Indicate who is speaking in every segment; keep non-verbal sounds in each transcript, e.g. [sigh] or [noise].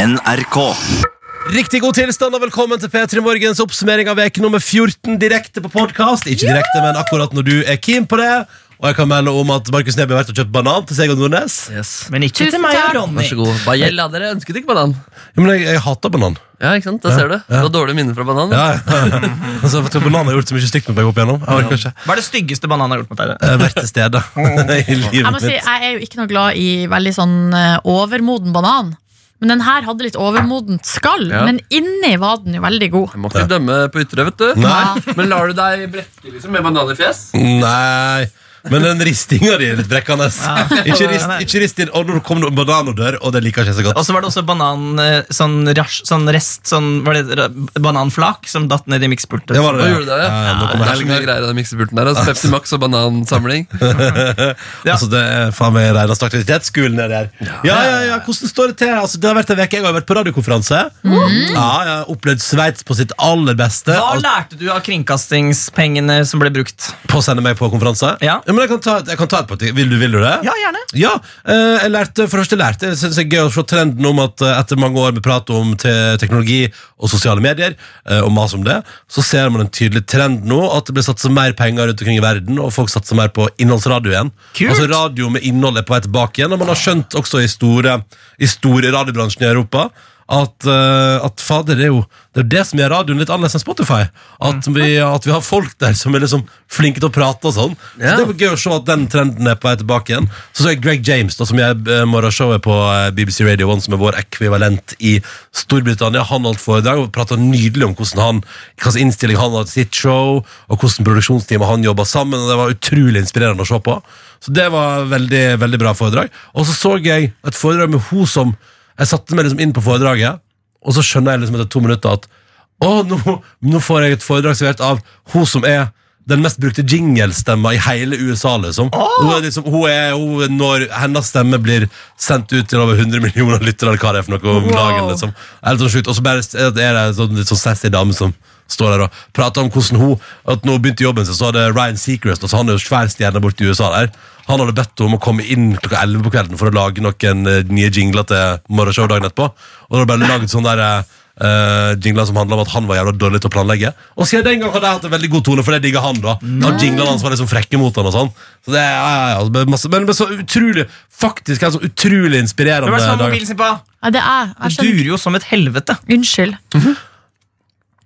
Speaker 1: NRK.
Speaker 2: Riktig god tilstand og velkommen til P3 Morgens oppsummering av veke nummer 14 direkte på podkast. Ikke direkte, men akkurat når du er keen på det. Og jeg kan melde om at Markus Neby har vært og kjøpt banan til seg og Nordnes.
Speaker 3: Men ikke
Speaker 4: Tusen
Speaker 3: til meg og
Speaker 4: takk.
Speaker 3: Ronny.
Speaker 5: Vær så god. Bare gjeld, da, dere ønsket ikke banan.
Speaker 2: Ja, men jeg, jeg hater banan.
Speaker 5: Ja, ikke sant? Da ser du. Du har dårlige minner fra banan. da.
Speaker 2: Ja, ja. [laughs] altså, for banan har gjort så mye stygt med meg opp igjennom. Jeg har kanskje
Speaker 3: Hva er det styggeste bananen har gjort mot deg?
Speaker 2: eh, vært til stede [laughs] i
Speaker 4: Jeg
Speaker 2: livet
Speaker 4: må si,
Speaker 2: mitt.
Speaker 4: jeg er jo ikke noe glad i veldig sånn eh, overmoden banan. Men den her hadde litt overmodent skall,
Speaker 5: Ja.
Speaker 4: men inni var den jo veldig god.
Speaker 5: Jeg må ikke dømme på ytre, vet du.
Speaker 2: Nei.
Speaker 5: Men lar du deg brekke liksom, med banan i fjes?
Speaker 2: Nei. Men den ristinga di er litt brekkende. [laughs] Ikke rist,
Speaker 3: Nei.
Speaker 2: ikke rist inn. Og når det kommer noen banan og dør, og det liker ikke jeg så godt.
Speaker 3: Og så var det også banan, eh, sånn, rasj, sånn rest, sånn, var det ra- bananflak som datt ned i mikspultet.
Speaker 2: Det var
Speaker 5: Hva
Speaker 2: det,
Speaker 5: gjorde du da?
Speaker 2: Ja, ja, nå
Speaker 5: det
Speaker 2: kommer
Speaker 5: er så mye
Speaker 2: helgen.
Speaker 5: greier i den miksepulten der. Altså, Pepsi Max og banansamling.
Speaker 3: Ja.
Speaker 2: Altså det er faen meg reineste aktivitetsskolen er det her. Ja, ja, ja, hvordan står det til? Altså, det har vært en veke, jeg har vært på radiokonferanse. Ja, jeg har opplevd Sveits på sitt aller beste.
Speaker 3: Mhm. Hva
Speaker 2: Al-
Speaker 3: lærte du av kringkastingspengene som ble brukt?
Speaker 2: på å sende meg på konferanse.
Speaker 3: Ja.
Speaker 2: men jeg kan ta, jeg kan ta et parti. Vil du, vil du det?
Speaker 3: Ja, gjerne.
Speaker 2: Ja, eh, jeg lærte, for det første lærte jeg synes det er gøy å se trenden om at eh, etter mange år med prat om te teknologi og sosiale medier, eh, og mas om det, så ser man en tydelig trend nå, at det blir satset mer penger rundt omkring i verden, og folk satser mer på innholdsradio igjen.
Speaker 3: Kult.
Speaker 2: Altså radio med innhold er på vei tilbake igjen, og man har skjønt også i store, i store radiobransjen i Europa, at, eh, at fader, det er jo det, er det som gjør radioen litt annerledes enn Spotify. At vi, at vi har folk der som er liksom flinke til å prate og sånn. Så
Speaker 5: Ja.
Speaker 2: det er gøy å se at den trenden er på vei tilbake igjen. Så så jeg Greg James, da, som gjør eh, morgenshowet på eh, BBC Radio 1, som er vår ekvivalent i Storbritannia. Han holdt foredrag og prata nydelig om hvordan han, hvilken innstilling han hadde til sitt show, og hvordan produksjonsteamet han jobba sammen. og Det var utrolig inspirerende å se på. Så det var veldig, veldig bra foredrag. Og så så jeg et foredrag med hun som Jeg satte meg liksom inn på foredraget, og så skjønner jeg liksom etter to minutter at å, nå, nå får jeg et foredrag servert av hun som er den mest brukte jinglestemma i hele USA, liksom. Hun er liksom hun er, hun, når hennes stemme blir sendt ut til over 100 millioner lyttere, eller hva det er for noe om dagen, liksom. Det er Helt sånn sjukt. Og så bare er det en sånn, litt sånn sassy dame som står der og prater om hvordan hun At når hun begynte jobben sin, så hadde Ryan Seacrest, altså han er jo svær stjerne borte i USA der, han hadde bedt henne om å komme inn klokka 11 på kvelden for å lage noen eh, nye jingler til morgenshow dagen etterpå. Og da hadde bare lagd sånn der eh, eh, jingler som handla om at han var jævla dårlig til å planlegge. Og siden den gang har de hatt en veldig god tone, for det digger han, da. Og jinglene hans var liksom frekke mot han og sånn. Så det er ja, ja, ja, det ble masse, Men det ble så utrolig faktisk en så utrolig inspirerende
Speaker 3: Hva var det som var
Speaker 2: dag.
Speaker 3: mobilen sin på?
Speaker 4: Ja, det er jeg.
Speaker 3: Det
Speaker 4: skjønner.
Speaker 3: durer jo som et helvete.
Speaker 4: Unnskyld.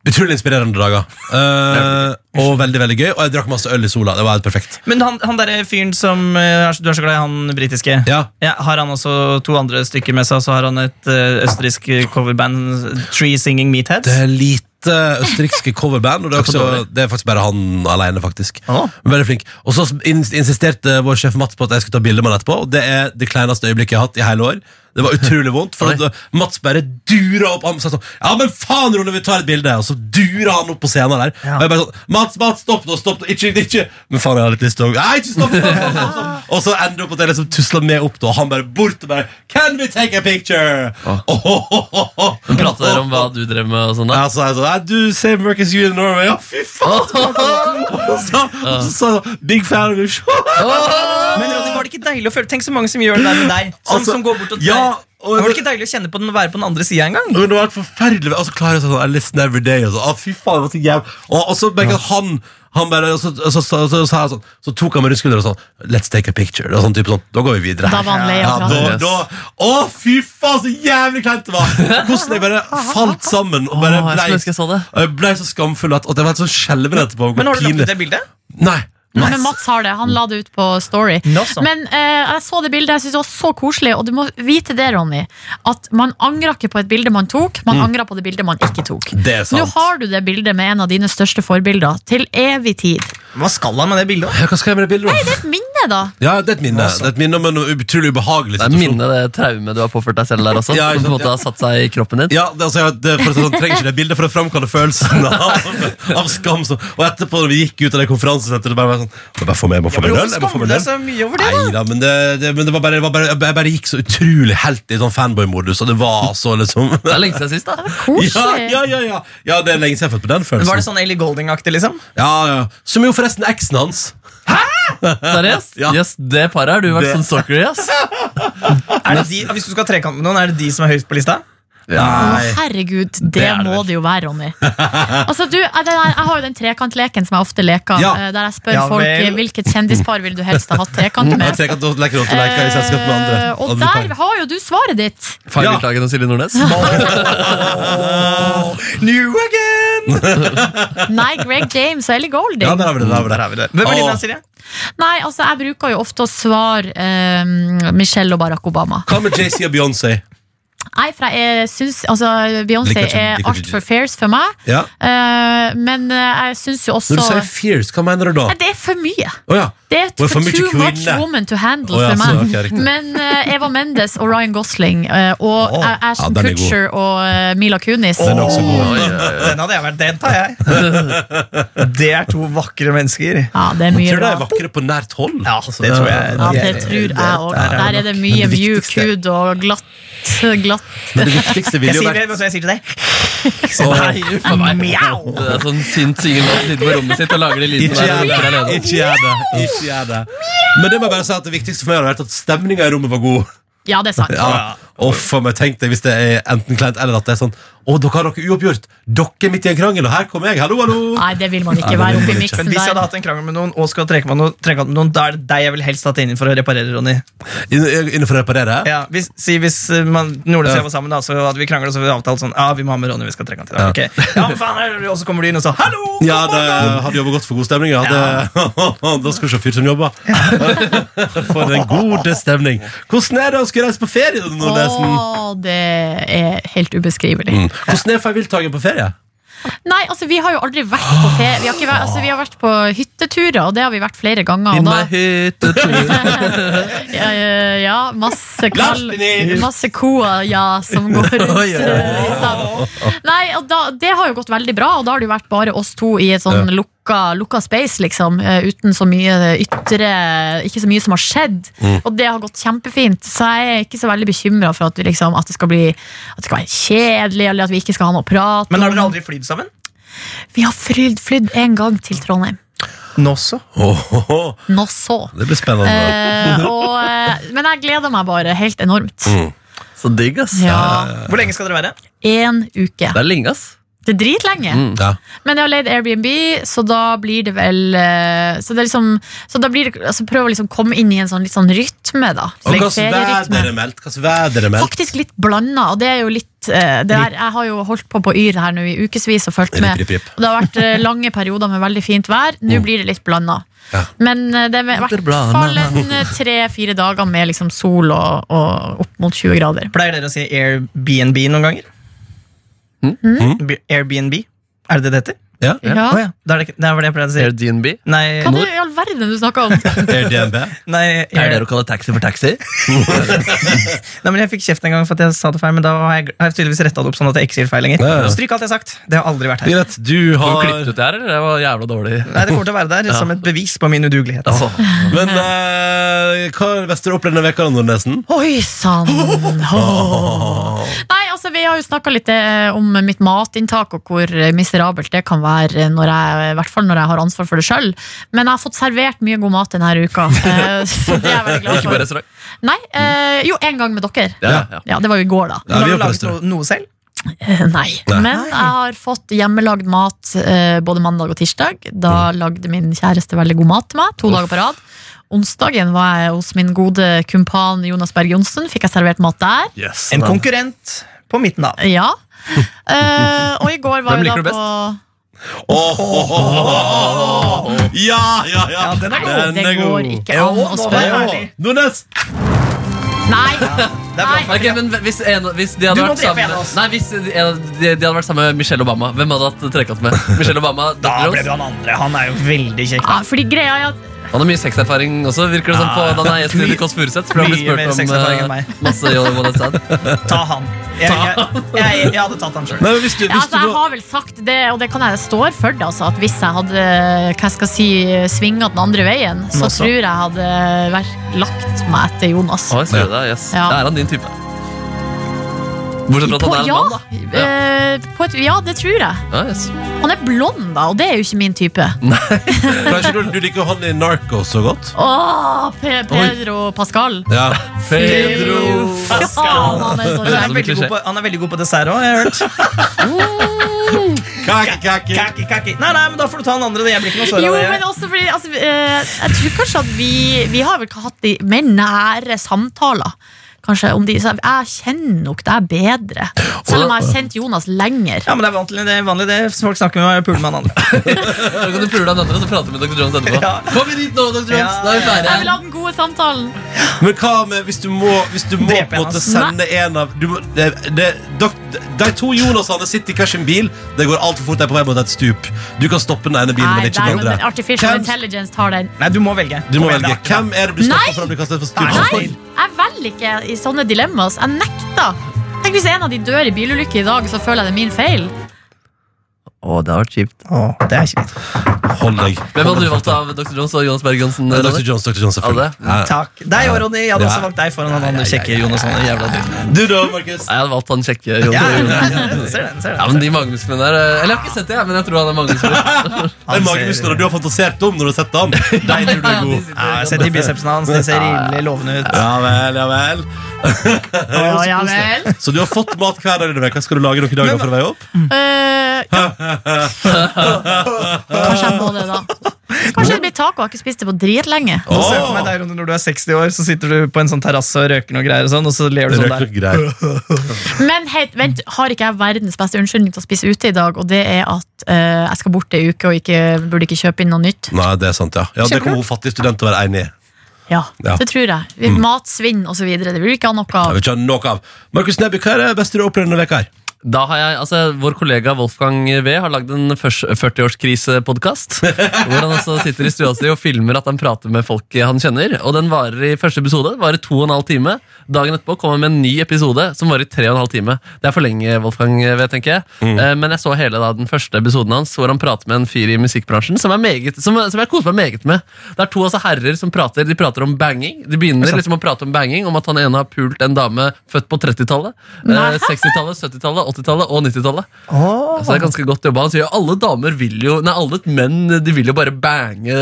Speaker 2: Utrolig inspirerende dager. Eh, og veldig, veldig gøy. Og jeg drakk masse øl i sola. Det var helt perfekt.
Speaker 3: Men han, han derre fyren som eh, er så- Du er så glad i han britiske.
Speaker 2: Ja.
Speaker 3: har han også to andre stykker med seg, og så har han et eh, østerriksk coverband, Tree Singing Meatheads?
Speaker 2: Det er lite østerrikske coverband, og det er,
Speaker 3: Takk for
Speaker 2: også, det er faktisk bare han alene, faktisk.
Speaker 3: Å.
Speaker 2: Men Veldig flink. Og så ins- insisterte vår sjef Mats på at jeg skulle ta bilde med han etterpå, og det er det kleineste øyeblikket jeg har hatt i hele år. Det var utrolig vondt, for at eh, Mats bare dura opp han sa sånn, Ja, men faen, Ronny, vi tar et bilde! Og så dura han opp på scenen der.
Speaker 3: Ja.
Speaker 2: Og jeg bare sånn Mats, Mats, stopp nå! Stopp nå! Ikke, ikke Men faen, jeg har litt lyst til å Nei, ikke stopp! stopp, stopp, stopp, stopp. Og så ender det opp at jeg liksom tusler med opp, da, og han bare bort og bare Can we take a picture?
Speaker 5: Å.
Speaker 2: Oh, oh, oh, [laughs] oh.
Speaker 5: Prater dere om hva du drev med og sånn? da?
Speaker 2: Ja, så er jeg sånn, «Nei, du, same work as you in Norway Ja, fy faen Og så og så sa jeg, big fan of your show
Speaker 3: Men Ronny, var det ikke deilig å føle Tenk så mange som gjør det der med deg. Som,
Speaker 2: Altså,
Speaker 3: som går bort og
Speaker 2: ja, og-
Speaker 3: Var det ikke deilig å kjenne på den og være på den andre sida engang?
Speaker 2: Men det var helt forferdelig Og så klarer jeg sånn, I listen every day Og så, «Å, fy faen, det var så jævlig Og, og så merker jeg at han, han bare og så, og så, så, så, sa jeg sånn Så tok han med rundskudder og sånn Let's take a picture Og sånn type sånn, da går vi videre
Speaker 4: Da
Speaker 2: her
Speaker 4: var han lei
Speaker 2: ja,
Speaker 4: av
Speaker 2: da,
Speaker 4: praten.
Speaker 5: Yes.
Speaker 2: da, Å fy faen, så jævlig kleint det var Hvordan jeg bare falt sammen Og bare
Speaker 5: Å, jeg skulle
Speaker 2: ble,
Speaker 5: ønske jeg så det.
Speaker 2: og jeg ble så skamfull At, at jeg var helt sånn skjelven etterpå
Speaker 3: Men har du lagt ut
Speaker 2: Pinlig.
Speaker 3: det bildet?
Speaker 2: Nei
Speaker 4: Nei, men Mats har det. Han la det ut på Story.
Speaker 3: Nå så.
Speaker 4: Men eh, jeg så det bildet. Jeg synes det var så koselig. Og du må vite det, Ronny, at man angrer ikke på et bilde man tok. Man angrer på det bildet man ikke tok.
Speaker 2: Det er sant
Speaker 4: Nå har du det bildet med en av dine største forbilder til evig tid.
Speaker 3: Hva skal han med det bildet?
Speaker 2: Ja, Hva skal jeg med det bildet? da?
Speaker 4: Det er et minne, da.
Speaker 2: Ja, det er et minne. Det er et minne om en utrolig ubehagelig
Speaker 5: Det er
Speaker 2: situasjon.
Speaker 5: minnet, det traumet du har påført deg selv der også.
Speaker 2: Ja, ikke
Speaker 5: som på en
Speaker 2: sant,
Speaker 5: måte har satt seg i kroppen din.
Speaker 2: Ja, det, altså, jeg- det, for å si det sånn, trenger ikke det bildet for å framkalle følelsen av, [laughs] av skam. Så. Og etterpå, når vi gikk ut av det konferansesenteret, det bare var sånn Jeg må bare få med, jeg må få med en
Speaker 3: Hvorfor
Speaker 2: øl. jeg må få
Speaker 3: skammer
Speaker 2: med en
Speaker 3: du deg
Speaker 2: øl.
Speaker 3: så mye over det?
Speaker 2: Nei da, men, det, det, men det var bare, det var bare, jeg bare gikk så utrolig helt i sånn fanboy-modus, og det var så liksom [laughs]
Speaker 5: Det er lenge siden sist, da.
Speaker 4: Koselig.
Speaker 2: ja, ja, ja, ja. ja, det er lenge siden jeg har fått på den
Speaker 3: Var det
Speaker 2: følelsen.
Speaker 3: sånn Ellie Golding-aktig, liksom?
Speaker 4: sånn?
Speaker 2: Ja, ja. Som jo forresten eksen hans.
Speaker 5: Seriøst?
Speaker 2: Ja.
Speaker 5: Yes, det paret har du vært
Speaker 2: Det-
Speaker 5: sånn stalker i. ass.
Speaker 3: Er det de, hvis du skal ha trekant med noen, er det de som er høyest på lista?
Speaker 4: Å,
Speaker 2: Nei.
Speaker 4: herregud, det,
Speaker 3: Det er det
Speaker 4: må
Speaker 3: vel.
Speaker 4: det jo
Speaker 2: [laughs]
Speaker 4: være, Ronny. altså, du, jeg, jeg jeg har jo den trekantleken som jeg ofte leker,
Speaker 2: Ja. Mm.
Speaker 4: eh, der jeg spør
Speaker 3: Ja
Speaker 4: folk
Speaker 3: vel.
Speaker 4: eh, hvilket kjendispar vil du helst ha hatt trekant
Speaker 2: Jeg
Speaker 4: med.
Speaker 2: tenker at da leker du at du leker i selskap med andre.
Speaker 4: Eh, og
Speaker 2: andre
Speaker 4: der
Speaker 2: par.
Speaker 4: har jo du svaret ditt!
Speaker 2: Ja.
Speaker 5: Fargeklagen og Silje Nordnes.
Speaker 3: New again!
Speaker 4: Nei, Greg James og Ellie Golding.
Speaker 2: Ja, der har vi det. Der har vi det.
Speaker 3: Der har vi det. Hvem er din,
Speaker 2: Åh.
Speaker 3: da, Silje?
Speaker 4: Nei, altså, jeg bruker jo ofte å svare eh, Michelle og Barack Obama.
Speaker 2: Hva med JC og Beyoncé?
Speaker 4: Nei, for jeg syns altså, Beyoncé
Speaker 2: Liker ikke-
Speaker 4: er
Speaker 2: liker ikke-
Speaker 4: altfor fierce for meg.
Speaker 2: Ja.
Speaker 4: Eh, men eh, jeg syns jo også
Speaker 2: Når du sier fierce, hva mener du da?
Speaker 4: Nei, Det er for mye.
Speaker 2: Å ja.
Speaker 4: Det er
Speaker 2: Hun er
Speaker 4: for,
Speaker 2: for mye
Speaker 4: too much
Speaker 2: kvinne.
Speaker 4: woman to handle
Speaker 2: Å, ja,
Speaker 4: for meg.
Speaker 2: så, ok, riktig.
Speaker 4: Men eh, Eva Mendes og Ryan Gosling eh, og
Speaker 2: Å,
Speaker 4: A- Ashton
Speaker 2: ja, den er god.
Speaker 4: Kutcher og eh, Mila Kunis.
Speaker 2: Den er også god.
Speaker 5: Oi, oi, oi.
Speaker 3: Den hadde jeg vært. Den tar jeg. Det er to vakre mennesker.
Speaker 4: Ja, det er mye
Speaker 2: Tror du de er
Speaker 4: bra.
Speaker 2: vakre på nært hold?
Speaker 3: Ja, altså, det tror jeg.
Speaker 4: Ja, det tror jeg òg. Der er det mye
Speaker 3: det
Speaker 4: mjuk
Speaker 3: viktigste-
Speaker 4: hud og glatt, glatt
Speaker 2: Men det viktigste
Speaker 3: Jeg
Speaker 2: ville jo
Speaker 3: sier det,
Speaker 2: vært
Speaker 3: men så jeg sier til deg.
Speaker 5: Nei, uff a meg.
Speaker 3: Mjau.
Speaker 5: Det er sånn sint singel som sitter på rommet sitt og lager de lydene
Speaker 2: Ikke
Speaker 5: der.
Speaker 2: gjør
Speaker 5: når hun
Speaker 2: det.
Speaker 5: er alene.
Speaker 2: Ikke gjør det. Ikke gjør det. Men det må jeg bare si at det viktigste for meg hadde vært at stemninga i rommet var god.
Speaker 4: Ja, det er sant.
Speaker 2: Ja. Og for meg tenkte jeg hvis det er enten kleint eller at det er sånn Å, dere har dere uoppgjort. Dere er midt i en krangel, og her kommer jeg. Hallo, hallo.
Speaker 4: Nei, det vil man
Speaker 2: Nei,
Speaker 4: ikke
Speaker 2: det
Speaker 4: være
Speaker 2: vil
Speaker 4: oppi
Speaker 2: man ikke.
Speaker 4: miksen
Speaker 3: Men hvis jeg hadde
Speaker 4: der.
Speaker 3: hatt en krangel med noen, og skal trekke meg noe, trekke meg med noen, da er det deg jeg vil helst hatt inn for å reparere, Ronny.
Speaker 2: Inn- Innenfor å reparere?
Speaker 3: Ja, hvis, si hvis eh, man, Nordnes og
Speaker 2: Ja.
Speaker 3: jeg var sammen, da, så hadde vi kranglet, og så hadde vi avtalt sånn Ja, vi må ha med Ronny, vi skal trekke han til deg. Ok. Ja, men faen, er det- og så kommer du inn og så Hallo! kom
Speaker 2: Ja,
Speaker 3: på
Speaker 2: det
Speaker 3: da!»
Speaker 2: hadde jobba godt for god stemning. Ja. Det, [laughs] da skal du se fyr som jobber. [laughs] For en god stemning. Hvordan er det å skulle reise på ferie? Nordnesen?
Speaker 4: Å, det er helt ubeskrivelig.
Speaker 2: Mm. Hvordan er Feiltagen på ferie?
Speaker 4: Nei, altså, vi har jo aldri vært på ferie. Vi har, ikke vært, altså, vi har vært på hytteturer, og det har vi vært flere ganger.
Speaker 5: I
Speaker 4: Og da,
Speaker 5: my hyttetur.
Speaker 4: ja, ja, ja, masse kald,
Speaker 2: Lars-Nils!
Speaker 4: masse koa, ja, som [laughs] går rundt.
Speaker 5: Oi, oi, oi.
Speaker 4: eh, hytta. Nei, og da, det har jo gått veldig bra, og da har det jo vært bare oss to i et sånn lukka, lukka space, liksom. eh, Uten så mye ytre Ikke så mye som har skjedd. Og det har gått kjempefint, så jeg er ikke så veldig bekymra for at, vi liksom, at, det skal bli, at det skal være kjedelig, eller at vi ikke skal ha noe prat.
Speaker 3: Men har
Speaker 4: om.
Speaker 3: dere aldri flydd sammen?
Speaker 4: Vi har flydd, flydd en gang til Trondheim.
Speaker 3: Nå så.
Speaker 2: Åhåhå,
Speaker 4: Nå så. [laughs]
Speaker 2: det blir spennende.
Speaker 4: Eh, og, eh, men jeg gleder meg bare helt enormt.
Speaker 5: Så digg, ass.
Speaker 4: Mm. Ja,
Speaker 3: Hvor lenge skal dere være?
Speaker 4: Én uke.
Speaker 5: Det er lenge, ass.
Speaker 4: Det er dritlenge.
Speaker 2: Ja.
Speaker 4: Men jeg har leid Airbnb, så da blir det vel eh, Så, det er liksom, så da blir det altså Prøv å liksom komme inn i en sånn, litt sånn rytme, da.
Speaker 2: Og
Speaker 4: Litt
Speaker 2: hva slags
Speaker 4: ferierytme.
Speaker 2: vær er meldt? Hva slags vær er meldt?
Speaker 4: Faktisk litt blanda, og det er jo litt eh, det der, Jeg har jo holdt på på Yr her nå i ukevis og fulgt med.
Speaker 2: Rip, rip, rip.
Speaker 4: Og det har vært eh, lange perioder med veldig fint vær. Nå blir det litt blanda.
Speaker 2: Ja.
Speaker 4: Men eh, det er i
Speaker 5: Litt
Speaker 4: hvert
Speaker 5: blanda.
Speaker 4: fall en tre-fire dager med liksom sol og, og opp mot 20 grader.
Speaker 3: Pleier dere å si Airbnb noen ganger? Bi- Airbnb? Er det det det heter?
Speaker 2: Ja.
Speaker 5: Ja.
Speaker 4: Ja.
Speaker 3: Å ja. Da er det, ikke- det er vel det jeg pleier å si.
Speaker 5: Airdnb.
Speaker 3: Nei,
Speaker 4: Hva er det i all verden du snakker om?
Speaker 2: DNB?
Speaker 3: nei,
Speaker 5: Er det
Speaker 3: Air,
Speaker 5: dere kaller taxi for taxi?
Speaker 3: nei, men Jeg fikk kjeft en gang for at jeg sa det feil, men da har jeg, har jeg tydeligvis retta det opp. sånn at jeg ikke sier feil lenger.
Speaker 2: Ja, ja.
Speaker 3: Stryk alt jeg har sagt. Det har aldri vært her.
Speaker 2: Greit, du
Speaker 5: Har du
Speaker 2: har
Speaker 5: klippet ut det her, eller? Det var jævla dårlig.
Speaker 3: Nei, Det kommer til å være der som et bevis på min udugelighet.
Speaker 5: Åh.
Speaker 4: [laughs]
Speaker 2: Men eh, hva er det beste du har opplevd denne veka, Nordnesen?
Speaker 4: Oi
Speaker 5: [laughs]
Speaker 4: sann! Åh. Nei, altså Vi har jo snakka litt eh, om mitt matinntak og hvor eh, miserabelt det kan være, når jeg, i hvert fall når jeg har ansvar for det sjøl. Men jeg har fått servert mye god mat denne
Speaker 5: [laughs]
Speaker 4: uka. eh, Så det er jeg veldig glad
Speaker 5: Ikke på
Speaker 4: for.
Speaker 5: restaurant.
Speaker 4: Nei, eh, Jo, en gang med dere.
Speaker 5: Ja, ja.
Speaker 4: Ja, Det var jo i går, da.
Speaker 2: Ja,
Speaker 3: har
Speaker 2: vi
Speaker 3: du
Speaker 2: har
Speaker 3: laget
Speaker 2: plaster.
Speaker 3: noe, noe selv?
Speaker 4: Eh, [laughs] Nei. Men jeg har fått hjemmelagd mat eh, både mandag og tirsdag.
Speaker 5: Mm.
Speaker 4: Da lagde min kjæreste veldig god mat til meg, to dager på rad. Onsdagen var jeg hos min gode kumpan Jonas Berg Johnsen. Fikk jeg servert mat der.
Speaker 2: Yes,
Speaker 3: En
Speaker 2: nei.
Speaker 3: konkurrent på midten av.
Speaker 4: Ja. Eh, og i går var
Speaker 5: Hvem
Speaker 4: jeg
Speaker 5: liker du
Speaker 4: da på
Speaker 2: Åh, åh, åh, åh. Ja, ja, ja.
Speaker 3: Ja, den er
Speaker 4: Nei, det går ikke
Speaker 3: Jo,
Speaker 4: an
Speaker 3: nå var
Speaker 4: å
Speaker 3: jeg
Speaker 4: spørre.
Speaker 3: ærlig.
Speaker 2: Nordnes!
Speaker 4: Nei,
Speaker 3: Det er bra.
Speaker 4: Nei.
Speaker 5: Ok, men hvis, en, hvis de
Speaker 3: Du
Speaker 5: hadde
Speaker 3: må
Speaker 5: vært
Speaker 3: drepe
Speaker 5: sammen
Speaker 3: en av oss.
Speaker 5: Nei, hvis de, de hadde vært sammen med Michelle Obama, hvem hadde hatt trekant med? Michelle Obama,
Speaker 3: Da
Speaker 5: Dr.
Speaker 3: ble du
Speaker 5: Rose.
Speaker 3: han andre. Han er jo veldig kjekk.
Speaker 4: ja,
Speaker 3: da.
Speaker 4: fordi greia er at
Speaker 5: Han har mye sexerfaring også, virker det som på da han er gjest i
Speaker 3: Ah, Mye-
Speaker 5: The Kåss Furuseth. for han blir
Speaker 3: mye
Speaker 5: spurt
Speaker 3: mer
Speaker 5: om,
Speaker 3: sexerfaring enn
Speaker 5: eh,
Speaker 3: meg.
Speaker 5: masse Jolly Wall Outside.
Speaker 3: Ta han. Jeg, jeg, jeg, jeg hadde tatt han sjøl.
Speaker 2: Nei, men hvis du,
Speaker 4: ja,
Speaker 2: hvis du
Speaker 4: altså, Jeg
Speaker 2: da
Speaker 4: har vel sagt det, og det kan jeg stå for det, altså, at hvis jeg hadde eh, hva skal jeg si, svinga den andre veien,
Speaker 5: altså-
Speaker 4: så
Speaker 3: Nå så.
Speaker 4: tror jeg jeg hadde vært lagt meg etter Jonas.
Speaker 5: Oi, ser du det? Yes.
Speaker 4: Ja.
Speaker 5: Da er han din type. Bortsett fra at han er en
Speaker 4: ja,
Speaker 5: mann, da. Ja.
Speaker 4: eh, på et, ja, det tror jeg.
Speaker 5: Ja, yes.
Speaker 4: Han er blond, da, og det er jo ikke min type.
Speaker 2: Kanskje du, du liker han i Narcos så godt?
Speaker 4: Åh, Pe Pedro Pascal.
Speaker 2: Ja.
Speaker 5: Pedro
Speaker 4: Pascal. Ja, han er
Speaker 5: Høres
Speaker 4: så
Speaker 5: ut som
Speaker 4: kjær.
Speaker 5: en klisjé.
Speaker 3: God på- Han er veldig god på dessert òg, har jeg hørt.
Speaker 4: Mm.
Speaker 2: Kake, kake.
Speaker 3: Kaki, kaki. Nei, nei, men da får du ta den andre. Jeg blir ikke noe sår
Speaker 4: Jo,
Speaker 3: av
Speaker 4: men
Speaker 3: det.
Speaker 4: også fordi altså, eh, Jeg tror kanskje at vi Vi har vel ikke hatt de mer nære samtaler. Kanskje om de så Jeg kjenner nok deg bedre. Selv om jeg har kjent Jonas lenger.
Speaker 3: Ja, men det er vanlig det, er vanlig, det. folk snakker med meg og puler med han andre.
Speaker 5: Da kan du pule deg andre, så prater vi med Dr. Jones etterpå.
Speaker 3: Ja.
Speaker 5: Kom hit nå, Dr. Jones!
Speaker 3: Ja.
Speaker 5: Da er vi
Speaker 4: Jeg vil
Speaker 5: ferdige.
Speaker 4: ha den gode samtalen.
Speaker 2: Men hva med hvis du må, hvis du må
Speaker 3: Drepe
Speaker 2: på en måte
Speaker 3: Jonas.
Speaker 2: sende en av du må, det, det, dok- De to Jonasene sitter i hver sin bil. Det går altfor fort. De er på vei mot et stup. Du kan stoppe den ene bilen,
Speaker 4: Nei,
Speaker 2: men ikke
Speaker 4: nei,
Speaker 2: den
Speaker 4: men
Speaker 2: andre.
Speaker 4: Artificial
Speaker 2: Hvem-
Speaker 4: intelligence tar den.
Speaker 3: Nei, du må velge.
Speaker 2: Du må
Speaker 3: Kom igjen,
Speaker 2: velge.
Speaker 3: det er
Speaker 2: Hvem er det du
Speaker 4: Nei!
Speaker 2: stopper for å bli kastet for
Speaker 3: Nei.
Speaker 2: stup?
Speaker 4: Nei, jeg velger ikke i sånne dilemmaer. så Jeg nekter. Tenk hvis en av de dør i bilulykke i dag, så føler jeg det er min feil.
Speaker 5: Å, det har vært kjipt.
Speaker 3: akkurat- Å, det er kjipt.
Speaker 2: Hold deg.
Speaker 5: Hvem hadde du valgt av Dr. Jones og Jonas Bergensen?
Speaker 2: Nei, Dr.
Speaker 5: Ronny?
Speaker 2: Jones, Dr. Jones, selvfølgelig. Ja.
Speaker 3: Takk. Deg òg, Ronny. Jeg hadde
Speaker 2: Ja.
Speaker 3: også valgt deg foran han andre kjekke Jonas. Han er jævla dritt.
Speaker 2: Du da, Markus?
Speaker 5: Nei, jeg hadde valgt han kjekke
Speaker 3: Ja, ja,
Speaker 5: Jonas.
Speaker 3: ja, ja, ser den, ser
Speaker 5: Ja,
Speaker 3: den.
Speaker 5: men de magemusklene der eh, Eller jeg har ikke sett det, jeg, men jeg tror han er magemuskler.
Speaker 2: Det er magemusklene du har fantasert om når du har sett han. De tror du er
Speaker 5: De
Speaker 2: god.
Speaker 5: sitter
Speaker 3: Ja,
Speaker 5: i
Speaker 3: jeg har sett i bicepsene hans. De ser rimelig lovende ut.
Speaker 2: Ja vel, ja vel.
Speaker 4: Ja, ja vel.
Speaker 2: [laughs] Så du har fått mat hver dag denne veka. Skal du lage noen dager for å veie opp?
Speaker 4: Eh, ja. Kanskje jeg må det, da. Kanskje det blir taco. Jeg har ikke spist det på dritlenge.
Speaker 3: Nå ser jeg for meg deg, Ronny, Når du er 60 år, så sitter du på en sånn terrasse og røker noe greier, og sånn, og så ler du
Speaker 2: Det
Speaker 3: sånn
Speaker 2: røk
Speaker 3: der.
Speaker 2: nok greit.
Speaker 4: Men hei, vent, har ikke jeg verdens beste unnskyldning til å spise ute i dag, og det er at eh, jeg skal bort ei uke og ikke, burde ikke kjøpe inn noe nytt?
Speaker 2: Nei, det er sant, ja. ja det
Speaker 4: Kjempe.
Speaker 2: kommer hun fattige student til å være enig i.
Speaker 4: Ja,
Speaker 2: Ja.
Speaker 4: det tror jeg. Vi-
Speaker 5: Mm.
Speaker 4: Matsvinn og så videre. Det blir ikke ha noe
Speaker 2: Jeg
Speaker 4: av.
Speaker 2: vil ikke ha noe av. Markus Neby, hva er det beste du har opplevd denne veka her?
Speaker 5: Da har jeg, altså Vår kollega Wolfgang V har lagd en først- 40-årskrisepodkast. hvor han altså sitter i stua si og filmer at han prater med folk han kjenner. og Den varer i første episode varer to og en halv time. Dagen etterpå kommer han med en ny episode som varer i tre og en halv time. Det er for lenge, Wolfgang V, tenker jeg. Eh, Men jeg så hele da, den første episoden hans hvor han prater med en fyr i musikkbransjen som, er meget, som, som jeg koser meg meget med. Det er to altså herrer som prater De prater om banging. De begynner liksom å prate om banging, om at han ene har pult en dame født på 30-tallet. eh, 60-tallet, 70-tallet, 80-tallet og 90-tallet.
Speaker 3: Åh.
Speaker 5: Så det er ganske godt jobba. Han sier jo, alle damer vil jo Nei, alle menn de vil jo bare bange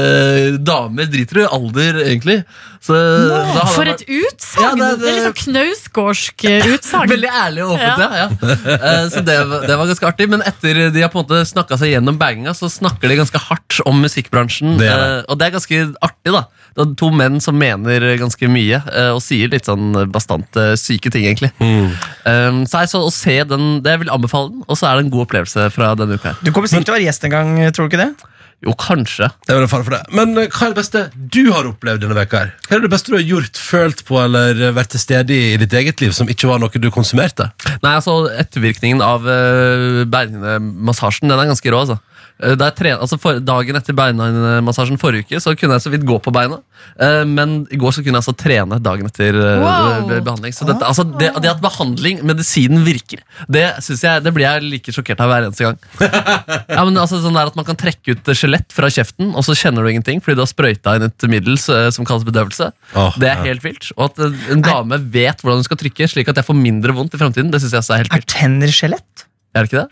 Speaker 5: damer. Driter i alder, egentlig. Så, så han
Speaker 4: For
Speaker 5: er
Speaker 4: et utsagn!
Speaker 5: Ja,
Speaker 4: det,
Speaker 5: det- det-
Speaker 4: er liksom knausgårdsk eh, utsagn.
Speaker 5: Veldig ærlig og åpent, ja. ja. Eh, Så det, var- det var ganske artig. Men etter de har på en måte snakka seg gjennom banginga, så snakker de ganske hardt om musikkbransjen.
Speaker 2: Det er
Speaker 5: eh, Og det er ganske artig, da. Det er to menn som mener ganske mye, eh, og sier litt sånn bastante syke ting, egentlig.
Speaker 2: Mm.
Speaker 5: Eh, Så, nei, så å se den, det jeg vil anbefale den, og så er det en god opplevelse fra denne uka her.
Speaker 3: Du kommer sikkert til å være gjest en gang, tror du ikke det?
Speaker 5: Jo, kanskje.
Speaker 2: Det er vel en fare for det. Men eh, hva er det beste du har opplevd denne veka her? Hva er det beste du har gjort, følt på eller eh, vært til stede i i ditt eget liv som ikke var noe du konsumerte?
Speaker 5: Nei, altså Ettervirkningen av uh, beinmassasjen Den er ganske rå. altså Eh, da jeg tren- altså for, Dagen etter beinmassasjen forrige uke Så kunne jeg så vidt gå på beina. Eh, men i går så kunne jeg altså trene dagen etter eh,
Speaker 4: Wow.
Speaker 5: be- behandling. Så dette, altså, det, det at behandling, medisinen, virker, det, synes jeg, det blir jeg like sjokkert av hver eneste gang. Ja, men altså sånn der at Man kan trekke ut skjelett fra kjeften, og så kjenner du ingenting fordi du har sprøyta inn et middel s- som kalles bedøvelse.
Speaker 2: Åh,
Speaker 5: det er
Speaker 2: ja.
Speaker 5: helt vilt. Og at eh, en dame vet hvordan hun skal trykke, slik at jeg får mindre vondt i fremtiden, det synes jeg også er helt
Speaker 3: Er
Speaker 5: vilt.
Speaker 3: tenner skjelett?
Speaker 5: Er det ikke det?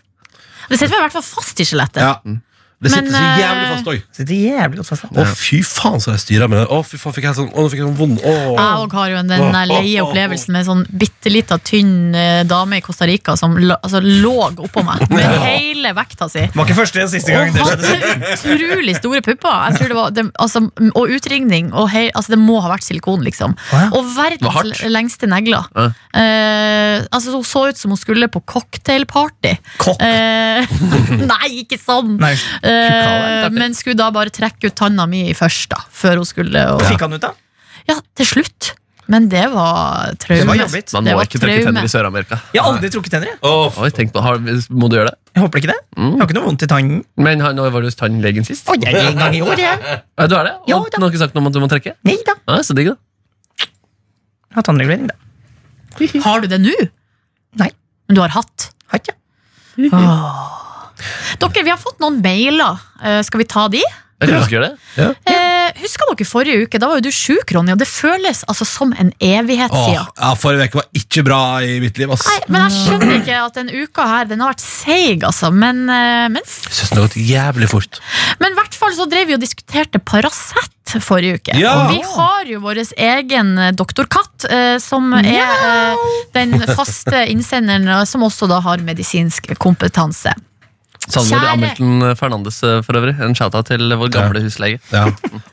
Speaker 4: Det setter meg i hvert fall fast i skjelettet.
Speaker 2: Mm. Det sitter
Speaker 4: Men,
Speaker 2: så jævlig
Speaker 4: eh,
Speaker 2: fast òg.
Speaker 3: Sitter jævlig godt fast. da.
Speaker 2: Å, fy faen, så jeg styrer med det. Å, fy faen, fikk jeg sånn, å, nå fikk jeg sånn vond å.
Speaker 4: Jeg òg har jo en- den der leie opplevelsen med en sånn bitte lita, tynn eh, dame i Costa Rica som la- altså, lå oppå
Speaker 5: [laughs]
Speaker 4: meg med hele vekta si.
Speaker 3: Det var ikke første og siste gang.
Speaker 4: Og
Speaker 3: det skjedde.
Speaker 4: hadde utrolig store pupper. Jeg tror det var, det, altså, og utringning. Og hei, altså, det må ha vært silikon, liksom.
Speaker 3: Å, ja.
Speaker 4: Og
Speaker 5: var hardt.
Speaker 4: verdens lengste negler.
Speaker 5: Ja.
Speaker 4: Eh, altså, hun så ut som hun skulle på cocktailparty.
Speaker 3: Kokk.
Speaker 4: Eh, [laughs] nei, ikke sånn!
Speaker 3: Nei,
Speaker 4: Eh, men skulle da bare trekke ut tanna mi først, da. Før hun skulle og,
Speaker 3: Fikk han ut, da?
Speaker 4: Ja, til slutt. Men det var
Speaker 3: Det
Speaker 4: traume.
Speaker 3: var jobbigt.
Speaker 5: Man
Speaker 4: Det
Speaker 5: må
Speaker 4: var
Speaker 5: ikke liksom. trekke
Speaker 4: traume.
Speaker 5: tenner i Sør-Amerika.
Speaker 3: Jeg har aldri trukket tenner. jeg.
Speaker 2: Å,
Speaker 5: Oi, tenk på, har, Må du gjøre det?
Speaker 3: Jeg håper ikke det.
Speaker 2: Mm.
Speaker 3: Jeg har ikke noe vondt i tannen.
Speaker 5: Men han- nå var du hos tannlegen sist.
Speaker 3: Å, jeg er en gang i år, jeg.
Speaker 5: Ja, Du er det?
Speaker 3: Ja,
Speaker 5: Og
Speaker 3: da.
Speaker 5: han har ikke sagt noe om at du må trekke?
Speaker 3: Nei da.
Speaker 5: Ja, så digg, da.
Speaker 3: Jeg har tannregulering, da.
Speaker 4: Har du det nå?
Speaker 3: Nei.
Speaker 4: Men du har hatt?
Speaker 3: Har ikke.
Speaker 4: Åh. Dere, vi har fått noen mailer. Eh, skal vi ta de?
Speaker 5: Jeg tror du skal gjøre det.
Speaker 4: Eh, Husker dere forrige uke? Da var jo du sjuk, Ronny, og det føles altså som en evighet
Speaker 2: Åh,
Speaker 4: siden.
Speaker 2: ja, Forrige uke var ikke bra i mitt liv. ass
Speaker 4: Nei, men jeg skjønner ikke at den uka her Den har vært seig, altså. Men, eh, men, f-
Speaker 2: Jeg synes det har gått jævlig fort.
Speaker 4: men i hvert fall så drev vi og diskuterte Paracet forrige uke.
Speaker 2: Ja.
Speaker 4: Og vi har jo vår egen eh, doktor Katt, eh, som er eh, den faste innsenderen, eh, som også da har medisinsk kompetanse.
Speaker 5: Salmer
Speaker 4: Kjære-
Speaker 5: Hamilton Fernandes eh, for øvrig. En shout-out til vår gamle husleie.
Speaker 2: Ja.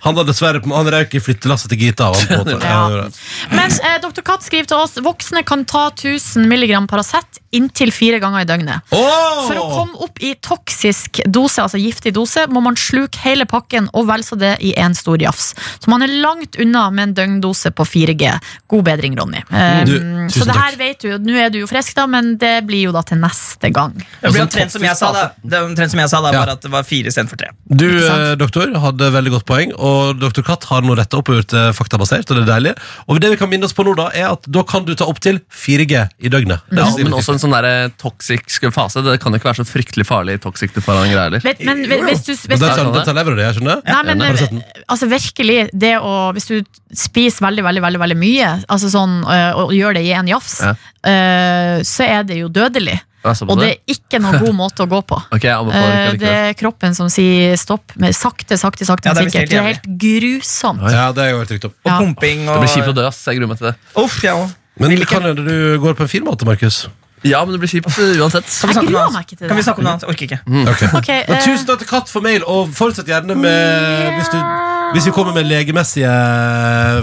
Speaker 2: Han var dessverre på, Han røyk i flyttelasset til Gita. Han, på en måte. Ja,
Speaker 4: Ja.
Speaker 2: det gjorde det.
Speaker 4: Men eh, doktor Katt skriver til oss voksne kan ta 1000 mg Paracet inntil fire ganger i døgnet.
Speaker 2: Åh!
Speaker 4: For å komme opp i toksisk dose, altså giftig dose, må man sluke hele pakken og vel så det i en stor jafs. Så man er langt unna med en døgndose på 4G. God bedring, Ronny. Um,
Speaker 2: Du,
Speaker 4: så
Speaker 2: tusen
Speaker 4: det her
Speaker 2: takk.
Speaker 4: vet du, jo. nå er du jo frisk, da, men det blir jo da til neste gang.
Speaker 3: Det
Speaker 5: Og
Speaker 3: blir
Speaker 5: sånn
Speaker 3: omtrent som jeg
Speaker 5: toxic
Speaker 3: sa, da.
Speaker 4: altså.
Speaker 3: Det er omtrent som jeg sa da,
Speaker 2: Ja.
Speaker 3: bare at det var fire istedenfor tre.
Speaker 2: Du,
Speaker 4: Ikke sant?
Speaker 2: eh, doktor, hadde veldig godt poeng, og doktor Katt har nå retta opp og gjort det faktabasert, og det er deilig. Og det vi kan minne oss på nå, da, er at da kan du ta opptil 4G i døgnet. Det er
Speaker 5: Ja,
Speaker 2: så stilig.
Speaker 5: men også en sånn der toksisk fase. Det kan jo ikke være så fryktelig farlig toxic til faran greier heller.
Speaker 4: Vet, men hvis- hvis du,
Speaker 2: Men
Speaker 4: hvis
Speaker 2: det
Speaker 4: du
Speaker 2: tar, det tar lever av det, jeg skjønner
Speaker 5: Ja,
Speaker 4: Nei, men
Speaker 2: den
Speaker 4: altså virkelig, det å Hvis du spiser veldig, veldig, veldig, veldig mye, altså sånn, øh, og gjør det i en jafs,
Speaker 5: Ja.
Speaker 4: øh, så er det jo dødelig.
Speaker 5: Ja, så på
Speaker 4: Og det
Speaker 5: det.
Speaker 4: er ikke noen god måte å gå på.
Speaker 5: Altså, Ok, jeg anbefaler
Speaker 4: Eh,
Speaker 5: ikke
Speaker 4: Det
Speaker 5: likevel.
Speaker 4: er kroppen som sier stopp, med sakte, sakte, sakte,
Speaker 3: Ja, det er
Speaker 4: men
Speaker 3: visst
Speaker 4: sikkert. Det er
Speaker 3: helt
Speaker 4: helt grusomt.
Speaker 2: Ja, det har jeg vært trygt opp.
Speaker 3: Og
Speaker 4: Ja.
Speaker 3: pumping og
Speaker 5: Det blir kjipt å dø, ass. Jeg gruer meg til det.
Speaker 3: Uff, jeg òg.
Speaker 2: Men det kan hende du går på en fin måte, Markus.
Speaker 5: Ja, men det blir kjipt eh, uansett.
Speaker 3: Kan vi snakke
Speaker 4: Jeg
Speaker 3: om noe
Speaker 4: gruer
Speaker 3: annet?
Speaker 4: meg ikke til
Speaker 3: Kan vi
Speaker 4: det.
Speaker 3: snakke om noe annet? Orker ikke.
Speaker 2: Ok.
Speaker 4: Ok,
Speaker 2: Men
Speaker 4: eh,
Speaker 2: tusen takk til Katt for mail, og fortsett gjerne med hvis, du, hvis vi kommer med legemessige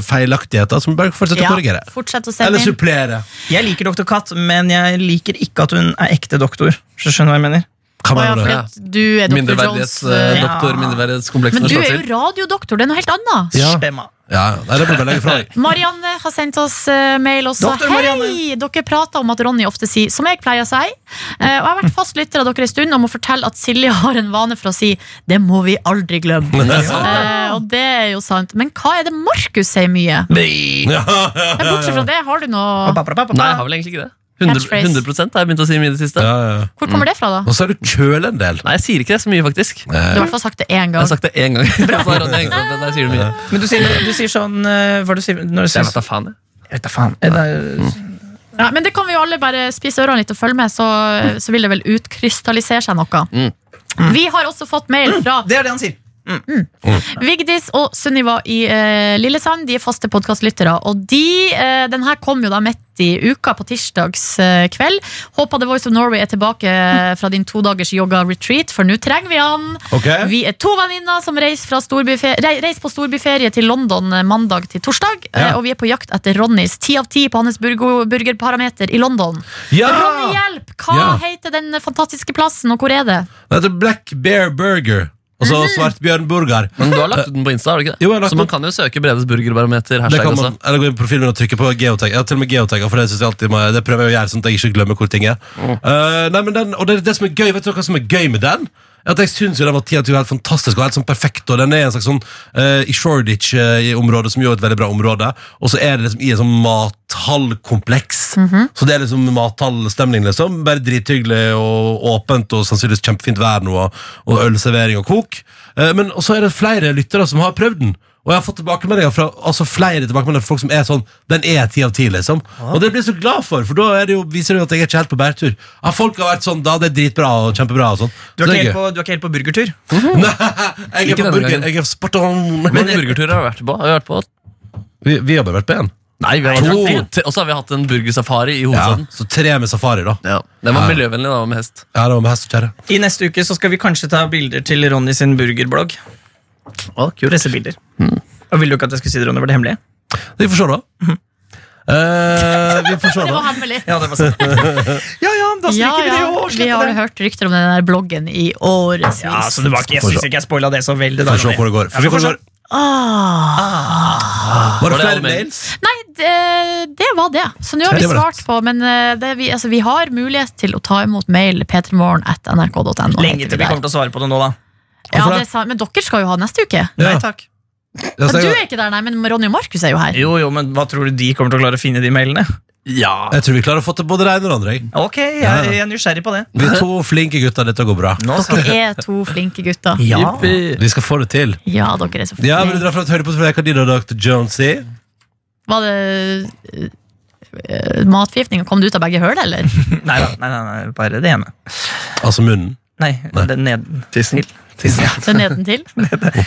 Speaker 2: feilaktigheter, så må vi bare fortsette å
Speaker 4: eh, ja,
Speaker 2: korrigere.
Speaker 4: fortsett å
Speaker 2: Eller
Speaker 4: sende inn.
Speaker 2: supplere.
Speaker 3: Jeg liker Dr. Katt, men jeg liker ikke at hun er ekte doktor. Så skjønner du hva jeg mener?
Speaker 2: Hva
Speaker 4: Å, ja,
Speaker 2: mener
Speaker 4: fordi
Speaker 2: du?
Speaker 4: at du er Dr. Jones. eh,
Speaker 5: Mindreverdighetsdoktor,
Speaker 4: Men
Speaker 5: mindreverdighetskompleksen
Speaker 4: du
Speaker 5: slår
Speaker 4: er jo
Speaker 5: til.
Speaker 4: radiodoktor, det er noe helt annet.
Speaker 2: Ja.
Speaker 3: Stemma.
Speaker 2: Ja, nei, det blir bare å legge fra
Speaker 4: [laughs]
Speaker 2: deg.
Speaker 4: Marianne har sendt oss eh, mail også.
Speaker 3: Doktor Marianne.
Speaker 4: Hei! Dere prater om at Ronny ofte sier 'som jeg pleier å si'. Eh, og jeg har vært fast lytter av dere en stund og må fortelle at Silje har en vane for å si 'det må vi aldri glemme'. Eh, og det er jo sant. Men hva er det Markus sier mye?
Speaker 2: Ja, ja,
Speaker 4: Men bortsett fra det, har du noe
Speaker 5: Nei, jeg har vel egentlig ikke det. 100,
Speaker 4: Catchphrase.
Speaker 5: 100% har jeg begynt å si mye i det siste.
Speaker 2: ja, ja.
Speaker 4: Hvor kommer det fra,
Speaker 5: Mm.
Speaker 4: da?
Speaker 2: Og så er du kjøl en del.
Speaker 5: Nei, jeg sier ikke det så mye, faktisk. Jeg
Speaker 4: Du har i hvert fall sagt det én gang.
Speaker 5: har sagt det én gang. [laughs] Så har Ronny hengt seg opp, men jeg sier det mye.
Speaker 3: Men du sier, du sier sånn eh, Hva er det du sier når du
Speaker 5: Jeg
Speaker 3: sier
Speaker 5: vet da faen, jeg.
Speaker 3: Jeg vet da faen. Er det,
Speaker 5: Mm.
Speaker 4: Ja, men det kan vi jo alle bare spise ørene litt og følge med, så, så vil det vel utkrystallisere seg noe.
Speaker 5: Mm.
Speaker 4: Vi har også fått mail fra
Speaker 3: det er det han sier.
Speaker 4: Vigdis og Sunniva i eh, Lillesand. De er faste podkastlyttere. Og de, eh, den her kom jo da midt i uka, på tirsdags eh, kveld. Håper The Voice of Norway er tilbake eh, fra din todagers yoga-retreat, for nå trenger vi han.
Speaker 2: Ok?
Speaker 4: Vi er to venninner som reiser, fra storbyfe- rei- reiser på storbyferie til London eh, mandag til torsdag.
Speaker 2: Ja.
Speaker 4: eh, Og vi er på jakt etter Ronnys ti av ti på hans burgo- burgerparameter i London.
Speaker 3: Ah!
Speaker 2: Ja!
Speaker 4: Ronny, hjelp! Hva
Speaker 2: Ja.
Speaker 4: heter den fantastiske plassen, og hvor er det?
Speaker 2: Det heter Black Bear Burger. Og
Speaker 4: Mhm.
Speaker 2: så svartbjørnburger.
Speaker 5: Men du har lagt ut den på Insta, har du ikke
Speaker 2: Jo, jeg har
Speaker 5: det?
Speaker 2: lagt
Speaker 5: Så man
Speaker 2: ut-
Speaker 5: kan jo søke Bredes burgerbarometer.
Speaker 2: Det
Speaker 5: Hashtag
Speaker 2: kan
Speaker 5: også.
Speaker 2: man, eller gå inn på profilen min og trykke på geotag. Jeg har til og med geotag, for det, synes jeg alltid, må- det prøver jeg å gjøre, sånn at jeg ikke glemmer hvor ting er. Eh, nei, men den, og det, er det som er gøy, vet du hva som er gøy med den? At jeg synes jo den var 10 av 10 helt fantastisk og helt sånn perfekt, og den er en slags sånn eh, i Shoreditch-området, som jo er et veldig bra område, og så er det liksom i en sånn mathallkompleks. Så det er liksom mathallstemning, liksom. Bare drithyggelig og åpent, og sannsynligvis kjempefint vær nå, og, og ølservering og kok. Eh, men og så er det flere lyttere som har prøvd den. Og jeg har fått tilbakemeldinger fra altså flere tilbakemeldinger fra folk som er sånn Den er ti av ti, liksom. Og det blir jeg så glad for, for da er det jo, viser det jo at jeg er ikke helt på bærtur. Ja, folk har vært sånn da, det er dritbra og kjempebra og sånn.
Speaker 3: Du er
Speaker 2: Så det
Speaker 3: ikke
Speaker 2: er
Speaker 3: helt på, du er ikke helt på burgertur?
Speaker 2: gøy. Nei, jeg
Speaker 5: Ikke
Speaker 2: er på
Speaker 5: denne
Speaker 2: burger.
Speaker 5: gangen.
Speaker 2: Jeg er spartan.
Speaker 5: Hvor mange burgerturer har vi vært på? Har vi vært på?
Speaker 2: Vi, vi har bare vært på én.
Speaker 5: Nei, vi har
Speaker 2: Nei,
Speaker 5: vært
Speaker 2: to.
Speaker 5: på to. Og så har vi hatt en burgersafari i
Speaker 2: Ja,
Speaker 5: hovedstaden.
Speaker 2: så tre med safari, da.
Speaker 5: Ja. Den var
Speaker 2: Ja.
Speaker 5: miljøvennlig, den var med hest.
Speaker 2: Ja, det var med hest og kjerre.
Speaker 3: I neste uke så skal vi kanskje ta bilder til Ronny sin burgerblogg. Pressebilder.
Speaker 5: Mm.
Speaker 3: Og Ville du ikke at jeg skulle si det, Ronny? Var det hemmelig?
Speaker 2: Vi får se, [laughs] da. Eh, vi får se,
Speaker 4: Det
Speaker 2: da.
Speaker 4: var hemmelig.
Speaker 3: Ja, det
Speaker 5: [laughs]
Speaker 3: var sant. ja, ja, da
Speaker 4: Ja,
Speaker 3: stryker vi det
Speaker 4: ja,
Speaker 3: jo. og
Speaker 4: vi
Speaker 3: sletter
Speaker 4: har
Speaker 3: det.
Speaker 4: hørt rykter om den der bloggen i årevis.
Speaker 3: Ja, altså. så det var ikke, Jeg syns ikke jeg spoila det så veldig. da,
Speaker 2: Får se
Speaker 3: Ronny.
Speaker 2: hvor det går.
Speaker 3: Ja,
Speaker 2: Får se
Speaker 3: vi får
Speaker 2: hvor det
Speaker 3: se.
Speaker 2: går.
Speaker 4: Ah.
Speaker 2: Var
Speaker 5: Var
Speaker 2: det
Speaker 5: det
Speaker 2: flere
Speaker 5: alle mail?
Speaker 2: mails?
Speaker 4: Nei, det, det var det. Så nå har vi
Speaker 2: Det var det.
Speaker 4: svart på, men eh, det, vi, altså, vi har mulighet til å ta imot mail p3morgen.nrk.no.
Speaker 3: Lenge til vi kommer til å svare på det nå, da.
Speaker 4: Ja,
Speaker 2: Hvorfor
Speaker 4: det sa, men dere skal jo ha neste uke.
Speaker 2: Ja.
Speaker 3: Nei takk.
Speaker 2: Ja, så
Speaker 4: Men du
Speaker 2: jeg-
Speaker 4: er ikke der, nei, men Ronny og Markus er jo her.
Speaker 3: Jo, jo, men hva tror du de kommer til å klare å finne de mailene?
Speaker 5: Ja.
Speaker 2: Jeg tror vi klarer å få til både det ene og det andre. jeg.
Speaker 3: Ok, jeg,
Speaker 2: Ja, ja.
Speaker 3: jeg er nysgjerrig på det.
Speaker 2: Vi er to flinke gutter, dette går bra.
Speaker 3: Nå skal
Speaker 4: Dere er to flinke gutter.
Speaker 3: Ja.
Speaker 5: Jippi.
Speaker 2: Vi skal få det til.
Speaker 4: Ja, dere er så
Speaker 2: Ja, vil du
Speaker 4: flinke.
Speaker 2: dra fra et høydepunkt fra veka di da, Dr. Jonesy?
Speaker 4: Var det eh, matforgiftning? Kom det ut av begge høl, eller?
Speaker 3: Nei, da, nei, nei, nei, bare det ene.
Speaker 2: Altså munnen.
Speaker 3: Nei, den neden. Tissen. Tissen, ja.
Speaker 4: Det er nedentil?
Speaker 3: Vet du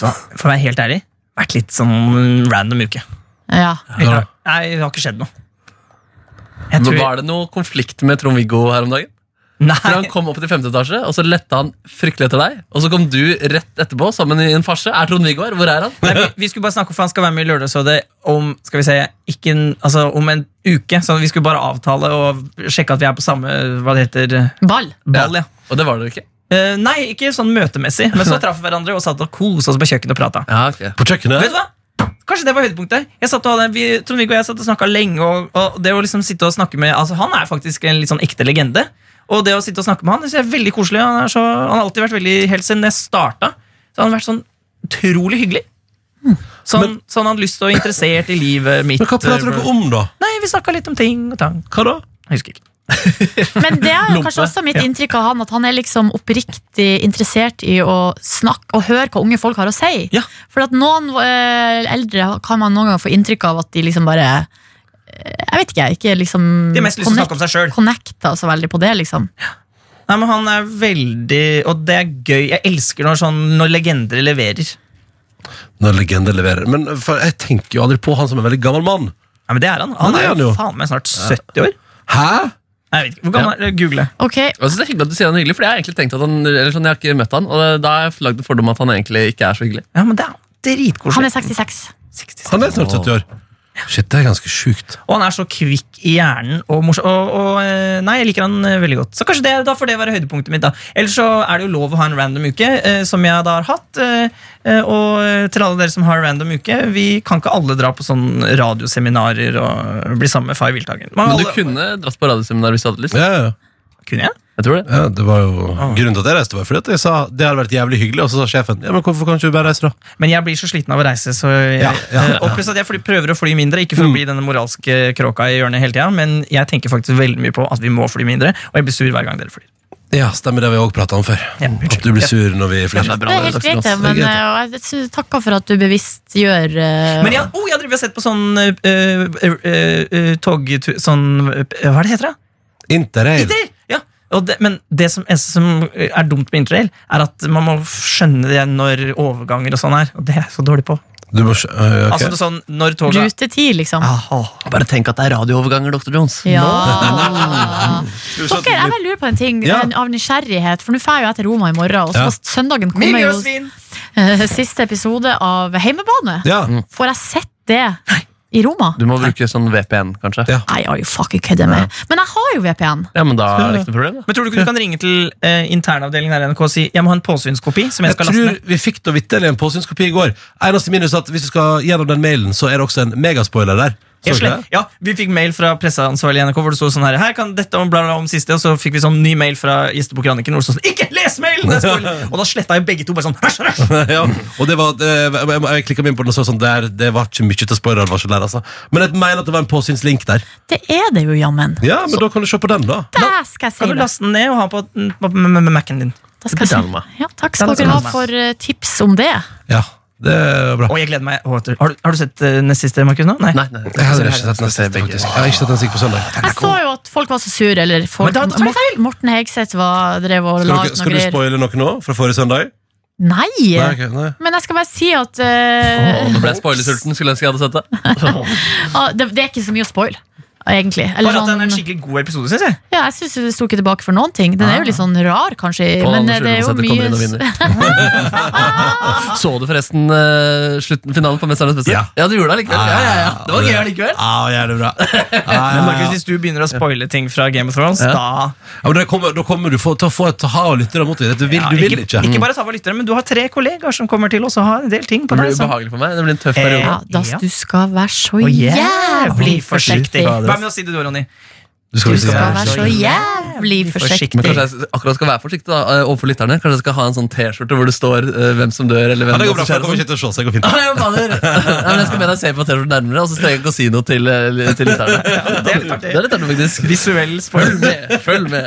Speaker 3: hva, For å være helt ærlig, vært litt sånn random uke.
Speaker 4: Ja.
Speaker 2: Ja.
Speaker 3: Nei, det har ikke skjedd noe. Jeg
Speaker 5: Men
Speaker 3: tror...
Speaker 5: Var det noe konflikt med Trond-Viggo her om dagen? For Han
Speaker 3: Nei,
Speaker 5: kom opp til femte etasje, og så lette han fryktelig etter deg. Og så kom du rett etterpå sammen i en farse. Er Trond-Viggo her? Hvor er han?
Speaker 3: nei, vi- vi skulle bare snakke om for han skal være med i Lørdagsrådet om skal vi si, ikke en, altså, om en uke. Så vi skulle bare avtale og sjekke at vi er på samme hva det heter,
Speaker 4: Ball.
Speaker 3: ball. ja.
Speaker 5: Og det var dere ikke?
Speaker 3: Eh, nei, ikke sånn møtemessig, men
Speaker 2: [laughs]
Speaker 3: så traff vi hverandre og satt og kosa oss på kjøkkenet og prata.
Speaker 5: Ja, ok
Speaker 2: På
Speaker 3: Vet
Speaker 2: kjøkkenet?
Speaker 3: du hva? Kanskje det var høydepunktet. Jeg satt og hadde, vi, Trond-Viggo og jeg satt og snakka lenge. Og, og det å liksom sitte og snakke med altså Han er faktisk en litt sånn ekte legende. Og det å sitte og snakke med han det synes jeg er veldig koselig. Han, er så, han har alltid vært veldig Helt siden jeg starta, så har han vært sånn utrolig hyggelig. Sånn, sånn han hadde lyst til og interessert i livet
Speaker 2: Hmm. [laughs]
Speaker 3: mitt.
Speaker 2: Men
Speaker 3: eh,
Speaker 2: hva prater dere om, da?
Speaker 3: Nei, Vi snakka litt om ting og tang.
Speaker 2: Hva da?
Speaker 3: Jeg husker ikke.
Speaker 4: Men det er jo
Speaker 5: Lompe.
Speaker 4: kanskje også mitt inntrykk av han, at han er liksom oppriktig interessert i å snakke og høre hva unge folk har å si.
Speaker 3: Ja.
Speaker 4: For at noen eh, eldre kan man noen ganger få inntrykk av at de liksom bare eh, Jeg vet ikke, jeg. Ikke liksom
Speaker 3: De har mest lyst til å snakke om seg sjøl.
Speaker 4: connecta så veldig på det, liksom.
Speaker 3: Nei, men Han er veldig Og det er gøy. Jeg elsker når, sånn, når legender leverer.
Speaker 2: Når legender leverer. Men for jeg tenker jo aldri på han som en veldig gammel mann.
Speaker 3: Nei, men det er han. Han
Speaker 2: Ja, det er
Speaker 3: er jo
Speaker 2: han jo.
Speaker 3: faen meg snart 70 år.
Speaker 2: Hæ?
Speaker 3: Nei, jeg vet ikke. Hvor gammel er Google.
Speaker 4: Ok,
Speaker 5: Og Jeg synes det er hyggelig at du sier han er hyggelig, for jeg har egentlig tenkt at han, eller sånn, jeg har ikke møtt han, og da har jeg lagd en fordom at han egentlig ikke er så hyggelig.
Speaker 3: Ja, men det er
Speaker 4: Han
Speaker 3: dritkoselig.
Speaker 4: er 66.
Speaker 3: 66.
Speaker 2: Han er snart 70 år. Shit, det er ganske sjukt.
Speaker 3: Og han er så kvikk i hjernen og morsom. Og, og, eh, nei, jeg liker han eh, veldig godt. Så kanskje det, da får det være høydepunktet mitt. da. Ellers så er det jo lov å ha en random uke, eh, som jeg da har hatt. eh, eh, og eh, til alle dere som har random uke, vi kan ikke alle dra på sånn radioseminarer og bli sammen med Fay Wiltagen. Men
Speaker 5: Men du
Speaker 3: alle-
Speaker 5: kunne dratt på radioseminar hvis du hadde lyst.
Speaker 2: Ja, ja.
Speaker 3: Kunne jeg?
Speaker 5: Jeg tror det.
Speaker 2: ja det var jo Grunnen til at jeg reiste, var fordi at jeg sa det hadde vært jævlig hyggelig, og så sa sjefen ja, men hvorfor kan ikke du bare reise, da?
Speaker 3: Men jeg blir så sliten av å reise, så jeg, eh,
Speaker 2: Ja, ja, Mm. ja.
Speaker 3: Og pluss at jeg fly, prøver å fly mindre, ikke for å bli denne moralske kråka i hjørnet hele tida, men jeg tenker faktisk veldig mye på at vi må fly mindre, og jeg blir sur hver gang dere flyr.
Speaker 2: Ja, stemmer det vi òg prata om før.
Speaker 3: Ja,
Speaker 2: At du blir sur når vi flyr.
Speaker 5: Ja, det er bra,
Speaker 4: Det
Speaker 5: det
Speaker 4: er helt
Speaker 5: er
Speaker 4: greit, det.
Speaker 5: faktisk
Speaker 4: Men
Speaker 2: Det er
Speaker 4: eh, og jeg sy- takker for at du bevisstgjør eh,
Speaker 3: Men jeg, oh, jeg driver og sett på sånn eh, eh, eh, eh, tog... Sånn, eh, hva er det heter det?
Speaker 2: Interrail.
Speaker 3: Interrail! Ja. Og det, men det som, eneste som er dumt med interrail, er at man må skjønne det når overganger og sånn er. Og det er jeg så dårlig på.
Speaker 2: Du må skj- øh, ok.
Speaker 3: Altså det er sånn, når toget
Speaker 4: rutetid, liksom.
Speaker 3: Aha.
Speaker 5: Bare tenk at det er radiooverganger, Dr. Jones.
Speaker 4: Ja. Dere, jeg bare lurer på en ting
Speaker 2: Ja.
Speaker 4: en- av nysgjerrighet. For nå drar jeg til Roma i morgen, og så
Speaker 2: Ja.
Speaker 4: på søndagen kommer jo
Speaker 3: Miljøsvin!
Speaker 4: eh, siste episode av Heimebane.
Speaker 2: Ja.
Speaker 3: Mm.
Speaker 4: Får jeg sett det i Roma?
Speaker 5: Du må bruke sånn VPN, kanskje.
Speaker 2: Ja.
Speaker 4: Nei, jeg har jo fucking kødda med. Men jeg har jo VPN.
Speaker 5: Ja, men da er det ikke noe problem. da.
Speaker 3: Men tror du ikke du kan ringe til eh, internavdelingen her i NRK og si jeg må ha en påsynskopi? som jeg
Speaker 2: Jeg
Speaker 3: skal laste
Speaker 2: tror
Speaker 3: ned?
Speaker 2: vi fikk da vitterlig en påsynskopi i går. Eneste minus er at hvis du skal gjennom den mailen, så er det også en megaspoiler der. Så
Speaker 3: Jeg
Speaker 2: dere
Speaker 3: slett,
Speaker 2: det?
Speaker 3: ja, Vi fikk mail fra presseansvarlig i NRK hvor det sto sånn her, her kan dette om bla bla om siste, og så fikk vi sånn ny mail fra Gjestebok Kroniken hvor det sto sånn Ikke les mailen! Det er spoiler!» og da sletta jeg begge to bare sånn «Hørs,
Speaker 2: [laughs]
Speaker 3: hørs!»
Speaker 2: ja, og det var, det, jeg, jeg klikket meg inn på den og så sånn der, det var ikke mye til spoiler-advarsel der, altså. Men jeg mener at det var en påsynslink der.
Speaker 4: Det er det jo, jammen.
Speaker 2: Ja, men da kan du se på den, da.
Speaker 4: Der skal jeg si
Speaker 3: Kan du
Speaker 4: det.
Speaker 3: laste den ned og ha på, på m- m- Mac-en din?
Speaker 4: Da skal jeg si.
Speaker 5: Bedømme meg.
Speaker 4: Ja, takk skal
Speaker 3: Den skal
Speaker 4: dere
Speaker 3: bedømme.
Speaker 4: ha for eh, tips om det.
Speaker 2: Ja, det er bra.
Speaker 3: Og jeg gleder meg Å, Har du, har du sett eh, nest siste, Markus? nå? Nei.
Speaker 5: Nei, nei,
Speaker 2: Jeg har ikke sett den siste, faktisk. Jeg har ikke sett den siste på søndag.
Speaker 4: Jeg så jo at folk var så sure. Eller
Speaker 3: Men
Speaker 4: folk,
Speaker 3: da- da tar jeg feil.
Speaker 4: Morten Hegseth var, drev og
Speaker 2: Skal,
Speaker 4: la
Speaker 2: dere,
Speaker 4: ut noen
Speaker 2: skal du
Speaker 4: greier.
Speaker 2: spoile noe nå fra forrige søndag?
Speaker 4: Nei!
Speaker 2: Nei, ok, nei.
Speaker 4: Men jeg skal bare si at eh,
Speaker 5: Åh, nå ble jeg spoilersulten. Skulle ønske jeg hadde sett det.
Speaker 4: ah, det, det er ikke så mye å spoil, egentlig. Eller
Speaker 3: Bare at den er en
Speaker 4: sånn-
Speaker 3: skikkelig god episode, syns jeg.
Speaker 4: Ja, jeg syns det sto ikke tilbake for noen ting. Den er jo litt sånn rar, kanskje.
Speaker 5: Pål
Speaker 4: Men
Speaker 5: Anders
Speaker 4: eh, det er jo
Speaker 5: Ulvåsæter kommer inn og
Speaker 4: mye
Speaker 5: vinner. Så du forresten eh, slutten, finalen på Mesternes mester?
Speaker 2: Ja.
Speaker 5: du gjorde det likevel. Ja, ja, ja. Det var gøy allikevel.
Speaker 2: Ah, Ja, jævlig bra. Ja,
Speaker 3: Men
Speaker 2: ja, ja.
Speaker 3: Markus, Hvis du begynner å spoile ting fra Game of Thrones, da
Speaker 2: Ja, men da kommer, da kommer du få- til å få et ha og lyttere mot deg. Du vil,
Speaker 3: Ja,
Speaker 2: du vil ikke.
Speaker 3: ikke bare ta for lyttere, men du har tre kollegaer som kommer til oss og har en del ting på
Speaker 5: Det
Speaker 3: deg.
Speaker 5: blir
Speaker 3: som-
Speaker 5: ubehagelig for meg. Det blir en tøff
Speaker 3: Eh,
Speaker 5: periode.
Speaker 4: sånn. Ja, da
Speaker 3: Ja.
Speaker 4: Du skal være så
Speaker 3: Å,
Speaker 4: jævlig forsiktig.
Speaker 3: Vær med å si det du, Ronny.
Speaker 2: Du skal
Speaker 4: Du
Speaker 2: vel si
Speaker 4: skal
Speaker 2: det.
Speaker 4: være så jævlig bli forsiktig.
Speaker 5: Men kanskje jeg akkurat skal være forsiktig da, eh, overfor lytterne. Kanskje jeg skal ha en sånn T-skjorte hvor det står eh, hvem som dør, eller
Speaker 2: Ja,
Speaker 5: hvem
Speaker 2: det går bra,
Speaker 5: som
Speaker 2: folk kommer
Speaker 5: [laughs] skjer.
Speaker 2: ikke til å se seg, det går fint.
Speaker 5: Nei, men fader! Nei, men jeg skal be deg se på T-skjorten nærmere, og så trenger jeg ikke å si noe til, eh, til
Speaker 2: [laughs]
Speaker 5: lytterne.
Speaker 3: Det er litt
Speaker 5: Det er
Speaker 3: artig.
Speaker 5: litt artig, faktisk.
Speaker 3: Visuell spoil.
Speaker 5: Følg med!
Speaker 2: [laughs]
Speaker 5: følg med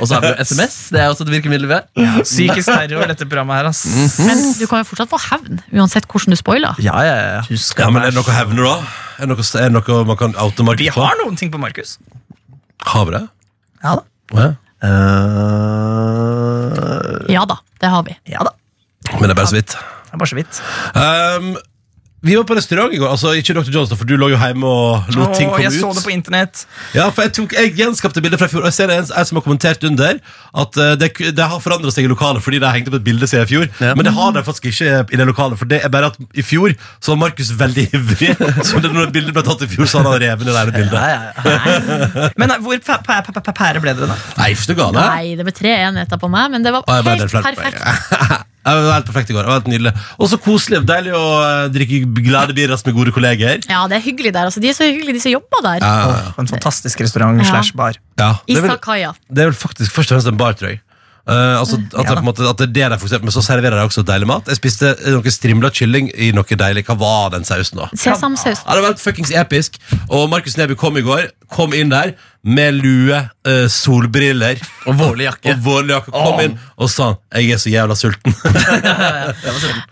Speaker 5: Og så har vi jo SMS. Det er også et virkemiddel vi har.
Speaker 3: Psykisk terror, dette programmet her, ass.
Speaker 4: Men du kan jo fortsatt få hevn, uansett hvordan du spoiler.
Speaker 5: Ja, ja, ja.
Speaker 3: Du
Speaker 2: Ja,
Speaker 3: skal
Speaker 2: men er det noe hevner, da? Er det noe, er det noe man kan
Speaker 3: Vi
Speaker 2: automarkere
Speaker 3: har noen ting på Markus.
Speaker 2: Har vi det?
Speaker 3: Ja da.
Speaker 2: Ja.
Speaker 5: Eh,
Speaker 4: Ja da, det har vi.
Speaker 3: Ja da.
Speaker 2: Men det er bare så vidt.
Speaker 3: Det er bare så vidt.
Speaker 2: Ehm, vi var på restaurant i går. Altså, ikke Dr. Jones, da, for du lå jo hjemme og lot ting
Speaker 3: Åh,
Speaker 2: komme
Speaker 3: jeg så
Speaker 2: ut.
Speaker 3: det på internett.
Speaker 2: Ja, for jeg, tok, jeg gjenskapte bildet fra i fjor, og jeg ser det er en, en som har kommentert under at eh, det, det har forandret seg i lokalet fordi det har hengt opp et bilde siden i fjor.
Speaker 5: Ja.
Speaker 2: Men det har det faktisk ikke i det lokalet, for det er bare at i fjor så var Markus veldig [laughs] ivrig. Så det, når bildet ble tatt i fjor, så hadde han revet ned det ene bildet.
Speaker 5: ja, ja, ja.
Speaker 3: Men nei, hvor pæ- pæ- pæ- pæ- pære ble dere, da?
Speaker 2: Nei, ikke gale.
Speaker 4: Nei, det ble tre enheter på meg, men det var
Speaker 2: Ah, jeg ble
Speaker 4: helt
Speaker 2: helt flau.
Speaker 4: perfekt.
Speaker 2: [laughs] Ja, det var helt perfekt i går. Det var helt nydelig. Og så koselig. Deilig å eh, drikke glade birras med gode kolleger.
Speaker 4: Ja, det er hyggelig der. Altså, de er så hyggelige, de som jobber der.
Speaker 2: Ja,
Speaker 3: På en fantastisk restaurant
Speaker 4: Ja.
Speaker 3: slash bar.
Speaker 2: ja. Det, er vel,
Speaker 4: Isakaya.
Speaker 2: det er vel faktisk først og fremst en bar, tror jeg. Eh, altså, at, det, på en måte, at det er det de fokuserer på, men så serverer de også deilig mat. Jeg spiste eh, noe strimla kylling i noe deilig. Hva var den sausen, da?
Speaker 4: Sesamsaus.
Speaker 2: Ja, det var helt fuckings episk. Og Markus Neby kom i går. Kom inn der med lue, eh, solbriller
Speaker 5: Og vårlig jakke.
Speaker 2: og vårjakke. Kom inn og sa 'Jeg er så jævla sulten'.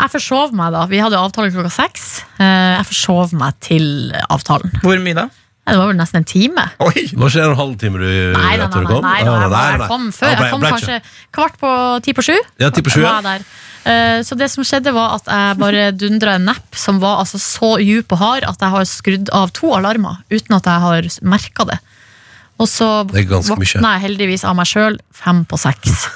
Speaker 4: Jeg forsov meg, da. Vi hadde jo avtale klokka seks. Eh, Jeg forsov meg til avtalen.
Speaker 3: Hvor mye da?
Speaker 4: Nei, Det var vel nesten en time.
Speaker 3: Oi!
Speaker 2: Det var ikke en og en halv time du
Speaker 4: Nei, nei,
Speaker 2: at
Speaker 4: nei,
Speaker 2: Eh, du
Speaker 4: nei,
Speaker 2: kom?
Speaker 4: nei,
Speaker 2: Ja,
Speaker 4: jeg,
Speaker 2: nei,
Speaker 4: jeg
Speaker 2: nei.
Speaker 4: kom før.
Speaker 2: Ja, ble-
Speaker 4: Jeg kom
Speaker 2: ble
Speaker 4: kanskje kvart på ti på sju.
Speaker 2: Ja, ti på sju, ja.
Speaker 4: Var jeg der. Eh, Så det som skjedde, var at jeg
Speaker 2: [laughs]
Speaker 4: bare dundra en napp som var altså så djup og hard at jeg har skrudd av to alarmer uten at jeg har merka det. Og så
Speaker 2: Det er ganske mye.
Speaker 4: våkna jeg heldigvis av meg sjøl fem
Speaker 2: [laughs]
Speaker 4: på seks.